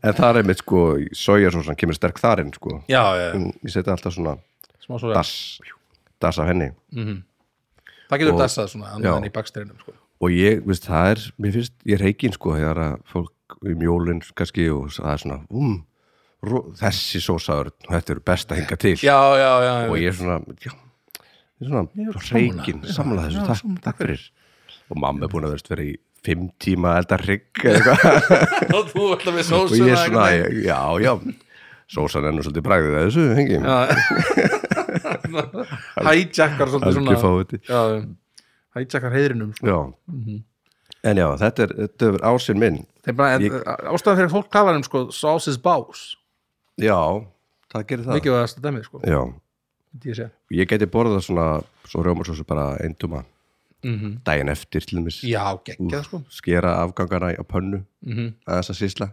S1: en það er einmitt sko sojasósan kemur sterk þar inn sko
S2: já, já,
S1: En ég seti alltaf svona
S2: smá svo
S1: das, das af henni
S2: það getur
S1: og-
S2: dassað svona annað
S1: Já.
S2: en í bakstrinum sko.
S1: og ég, veist, það er, mér finnst ég reikin sko, þegar að fólk í mjólin kannski og það er svona um, ró, þessi sósaður þetta eru best að hinga til
S2: já, já, já, já.
S1: og ég er svona, já ég er svona reikin, samla þessu, takk, takk fyrir og mamma er búin að veist vera í fimm tíma að elda hrygg eða eitthvað.
S2: og þú ætla með
S1: og
S2: sósuna
S1: ég er svona, já, já sósan er nú svolítið bræðið að þessu, hengi
S2: hæjakkar svolítið svona
S1: algjör fáviti
S2: já, hæjakkar heiðrinum sko.
S1: Já, en já, þetta er, þetta er ásinn minn
S2: Þeir bara,
S1: Ég-
S2: ég... ástæðan fyrir að fólk kallar um sko, sauce is bás
S1: Já, það gerir það
S2: mikið var það stæmið sko,
S1: Já,
S2: myndi ég segja.
S1: ég geti borðað svona svo rjómarsósu bara einduma mm -hmm. daginn eftir til þeimis
S2: já, geggjað sko
S1: skera afgangana á pönnu mm -hmm. aðeins að sýsla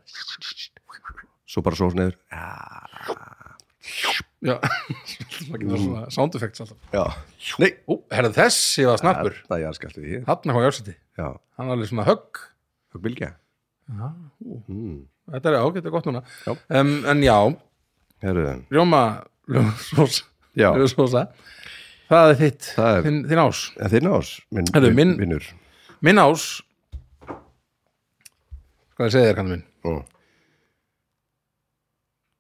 S1: svo bara sós neður
S2: já, það getur svona sound effects alltaf
S1: Já, nei,
S2: ú, herðu þessi var snappur
S1: það er skallt í hér
S2: hann hvað jársætti,
S1: Já,
S2: hann var alveg svona högg
S1: það bylgja Hmm.
S2: já, ú, þetta er ágætt og gott núna
S1: Já.
S2: um, en já,
S1: Herru,
S2: rjóma rjómasósa
S1: Já.
S2: rjómasósa. það er þitt,
S1: Það er-
S2: Þinn, þinn ás
S1: en þinn ás, minn,
S2: Herru, minn-
S1: vinnur
S2: minn ás hvað ég segi þér kannum minn
S1: mm.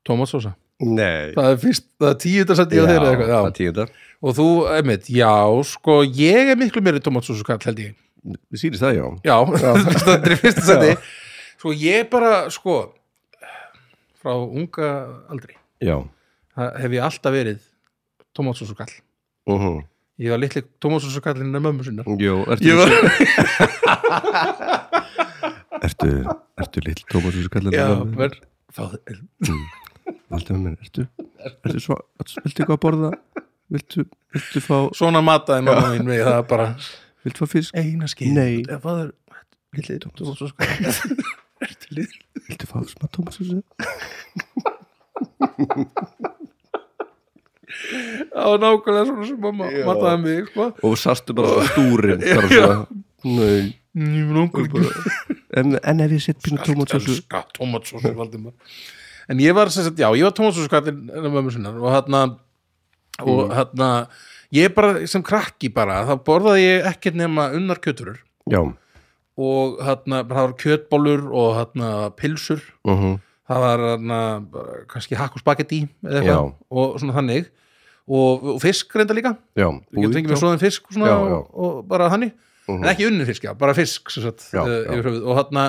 S2: tómatsósa,
S1: Nei,
S2: það er fyrst það er tíu þetta sætti á
S1: Já,
S2: þeirra eitthvað
S1: það
S2: já.
S1: tíðundar
S2: og þú, einmitt, já, sko ég er miklu meiri tómatsósu kall held ég
S1: Við sýnist það, já
S2: já, þetta er í fyrsta sætti sko ég bara, sko frá unga aldri
S1: Já,
S2: það hef ég alltaf verið tómatsósu kall
S1: mhm
S2: ég var litli tómatsósu kallinn af mömmu sinna
S1: Jó, ertu
S2: Ég var-
S1: Ertu, ertu lill Tómas þessu kallar
S2: Já, verð Fáðu
S1: Valdi með mér, ertu Ertu svo, viltu eitthvað að borða Viltu, viltu fá,
S2: Svona mataði mamma mín mig það bara
S1: viltu fá fisk
S2: Eina skeið
S1: Nei.
S2: Fáður Lillið Þú var svo sko Ertu lið
S1: Viltu fá smá Tómas þessu
S2: Það var nákvæmlega svona sem mamma mataði mig sko
S1: Og sastu bara á stúrin bara svona, Nei,
S2: Mm, Ég var nákvæmlega
S1: en, en ef ég set pínu Tómas þessu
S2: Elska tomatsósu Valdimar En ég var sem sagt Já, ég var tomatsósu kallinn En að mömmu sinnar Og hann Og hann Ég bara sem krakki bara Þá borðaði ég ekkert nema unnar kjöturur
S1: Já,
S2: og hérna, það var kjötbólur og hérna pilsur
S1: uh
S2: það var hana, kannski hakk og spagetti eða eitthvað
S1: Já.
S2: og svona þannig og, og fisk reynda líka
S1: já
S2: ég tengi mér svoðin fisk svona,
S1: Já, já.
S2: Og, og bara þannig en ekki unni fisk, já, bara fisk sem sagt,
S1: Já,
S2: já,
S1: já.
S2: Yfir, höfuð. og, hana,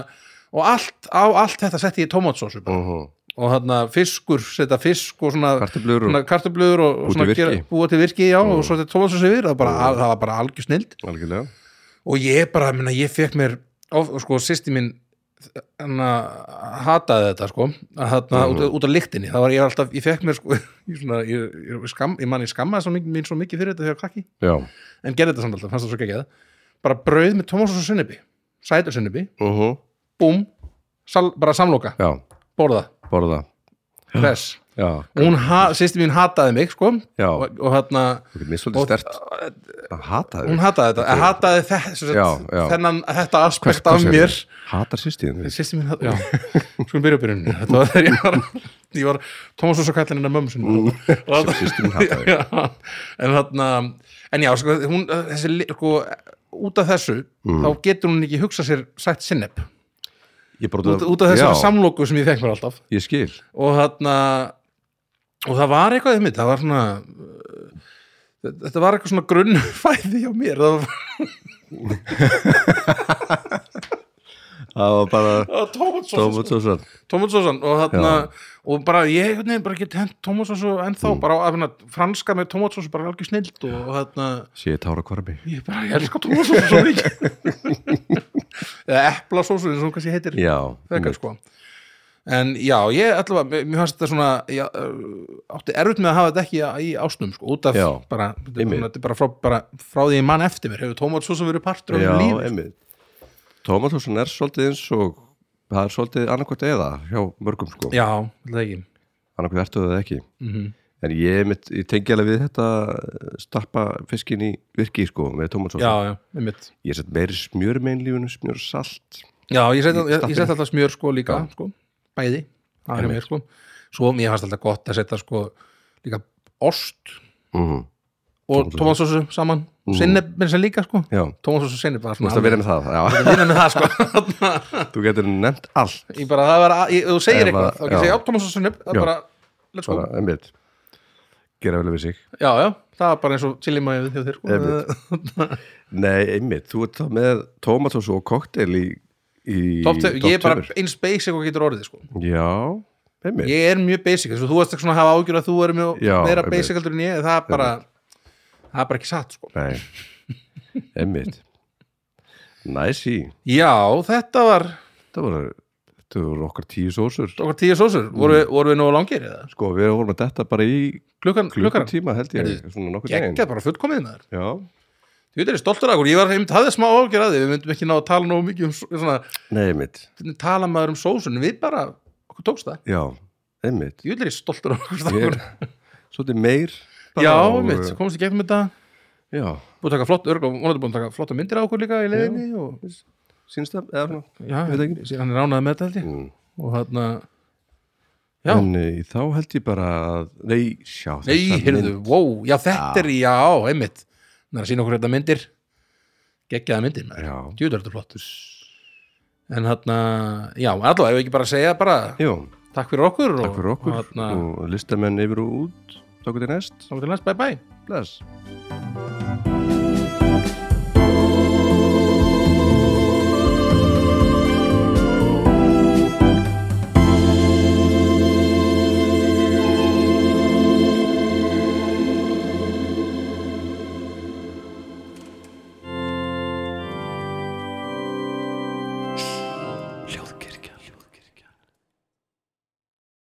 S2: og allt, á allt þetta setti ég tomatsósu bara.
S1: Mhm.
S2: og hana, fiskur, setja fisk og svona
S1: Kartöflur og-
S2: svona, kartöflur og, og
S1: til
S2: svona
S1: virki. Mhm.
S2: búa til virki já, og svo þetta tomatsósu yfir, það, var bara, það var bara algjör snild
S1: Algjörlega
S2: og ég bara, minna, ég fekk mér of, sko, sýsti mín hana, hataði þetta sko hana, út,
S1: Mhm.
S2: út af lyktinni, það var ég var alltaf ég fekk mér sko, ég, svona, ég, ég, skam, ég man ég skammaði svo mikið, mín svo mikið fyrir þetta þegar krakki,
S1: Já,
S2: en gerði þetta samt alltaf fannst það svo ekki bara brauð með Tómas og Sunnibi sætur Sunnibi,
S1: uh
S2: búm sal, bara samloka,
S1: já,
S2: borða
S1: borða
S2: res,
S1: Já,
S2: hún, ha, sýsti mín hataði mig sko,
S1: já
S2: og, og hérna
S1: Mér er svolítið
S2: og-
S1: stert að hata þig
S2: hún hataði þetta, eh, hataði þess, sagt,
S1: Já, já.
S2: þennan, þetta aspekt
S1: Hvað
S2: af
S1: segirðu?
S2: mér
S1: Hatar sýstíðin þín?
S2: Sýsti mín, já, skulum byrja byrjunni Þetta var þegar ég var ég var Thomas Sosa kallin hennar mömmu sinni mm,
S1: systir mín hataði.
S2: En þarna En já, sko, hún, þessi, li- sko út af þessu, þá getur hún ekki hugsa sér sætt sinneb,
S1: Ég bara-
S2: út, út af þessu
S1: Já.
S2: samlóku sem ég fekk mér alltaf
S1: Ég skil
S2: og þarna og það var eitthvað einmitt, það var svona uh, þetta var eitthvað svona grunnfæði hjá mér, það var
S1: Það var bara
S2: það var Thomas Sosa
S1: Tómas og svo
S2: Tómasson og þarna og bara ég einhvern veginn bara get hent Tómasson ennþá
S1: Mm.
S2: bara að finna franska með Tómasson bara algjör snild og, og þarna
S1: Sér ég tára kvarmi
S2: ég bara ég elska Tómasson svo mikið eða eplasósu eins og hún kannski heitir
S1: Já Mm.
S2: þegar sko en já ég allavega mér- mér fannst þetta svona ég, uh, átti erfitt með að hafa þetta ekki í ásnum sko út af
S1: Já,
S2: bara, þetta er
S1: einmitt.
S2: bara- þetta er bara, frá, bara frá því ég mann eftir mér hefur Tómasson verið partur af
S1: Já,
S2: mínu lífi
S1: einmitt Tómas og svo er svolítið eins og það er svolítið annarkvæmt eða hjá mörgum sko
S2: já, þetta ekki
S1: annarkvæmt ertu það ekki
S2: Mhm.
S1: en ég, einmitt, ég tengi alveg við þetta eh, stappa fiskin í virki sko með Tómas og
S2: já, já, einmitt
S1: ég set meiri smjör með einlífinu smjör og salt
S2: Já, ég set, ég, ég
S1: Stappinu.
S2: set alltaf smjör sko líka sko, bæði það er hjá mér sko svo mér fannst alltaf gott að setja sko líka ost
S1: mhm,
S2: og
S1: Tómatsósu.
S2: tómatsósu saman mm. sinneb með þess að líka sko
S1: já,
S2: tómatsósu sinneb var
S1: þú
S2: svona
S1: veist að vera með það já,
S2: alveg- vinna með það sko
S1: þú getur nefnt allt
S2: ég bara það var að, ég, þú segir
S1: Ef að-
S2: eitthvað þá getur
S1: já.
S2: ég já tómatsósu sinneb það
S1: Já.
S2: bara let's go
S1: bara, einmitt gera vel við sig
S2: já já það var bara eins og chili mayo hjá þér sko
S1: Einmitt. nei, einmitt, þú ert þá með tómatósu og koktel í, í
S2: Top ten- ég er bara
S1: topp
S2: eins basic og getur orðið sko
S1: tveimur. já, einmitt
S2: ég er mjög basic þess að þú varst ekki svona að hafa ágjör að þú er mjög
S1: Já,
S2: meira
S1: einmitt.
S2: basic heldur en ég það er bara það er bara ekki satt sko
S1: Nei, einmitt Næsí,
S2: já þetta var
S1: þetta voru þetta voru okkar tíu sósur
S2: okkar tíu sósur voru, voru við nógu langir eða
S1: Sko, við vorum að detta bara í
S2: klukkan, klukkan
S1: klukkutíma held ég, svona nokkuð deginn
S2: geggjað bara fullkomið maður
S1: Já,
S2: Þú veit, ég er stoltur af okkur, ég var einmitt hafði smá ágjör að því, við myndum ekki ná að tala nógu mikið um s- svona,
S1: nei, einmitt
S2: hvernig tala maður um sósun, við bara, okkur tókst það.
S1: Já, einmitt
S2: Ég vil er stoltur af okkur
S1: Ég-
S2: strákur.
S1: Svolítið meir bara
S2: Já,
S1: og-
S2: einmitt, komst í gegnum þetta,
S1: Já,
S2: búið að taka flott, örgulega, vonandi búin að taka flotta myndir af okkur líka í leiðinni og,
S1: sínst það, eða svona
S2: já,
S1: Ég veit ekki.
S2: hann er ránaði með þetta held ég,
S1: Mm.
S2: og þarna, Já.
S1: En e, þá held ég bara að Nei, sjá
S2: nei,
S1: þetta
S2: heyrðu,
S1: mynd-
S2: wow, já, þetta er, já, einmitt, þannig að sína okkur þetta myndir, geggjaða myndir, maður,
S1: Já,
S2: djúður þetta flott. En þarna, já, allavega, ég vil ekki bara að segja bara,
S1: já,
S2: takk fyrir okkur og,
S1: takk fyrir okkur
S2: og þarna,
S1: og listamenn yfir og út Takk fyrir næst,
S2: þá til næst, bye bye.
S1: bless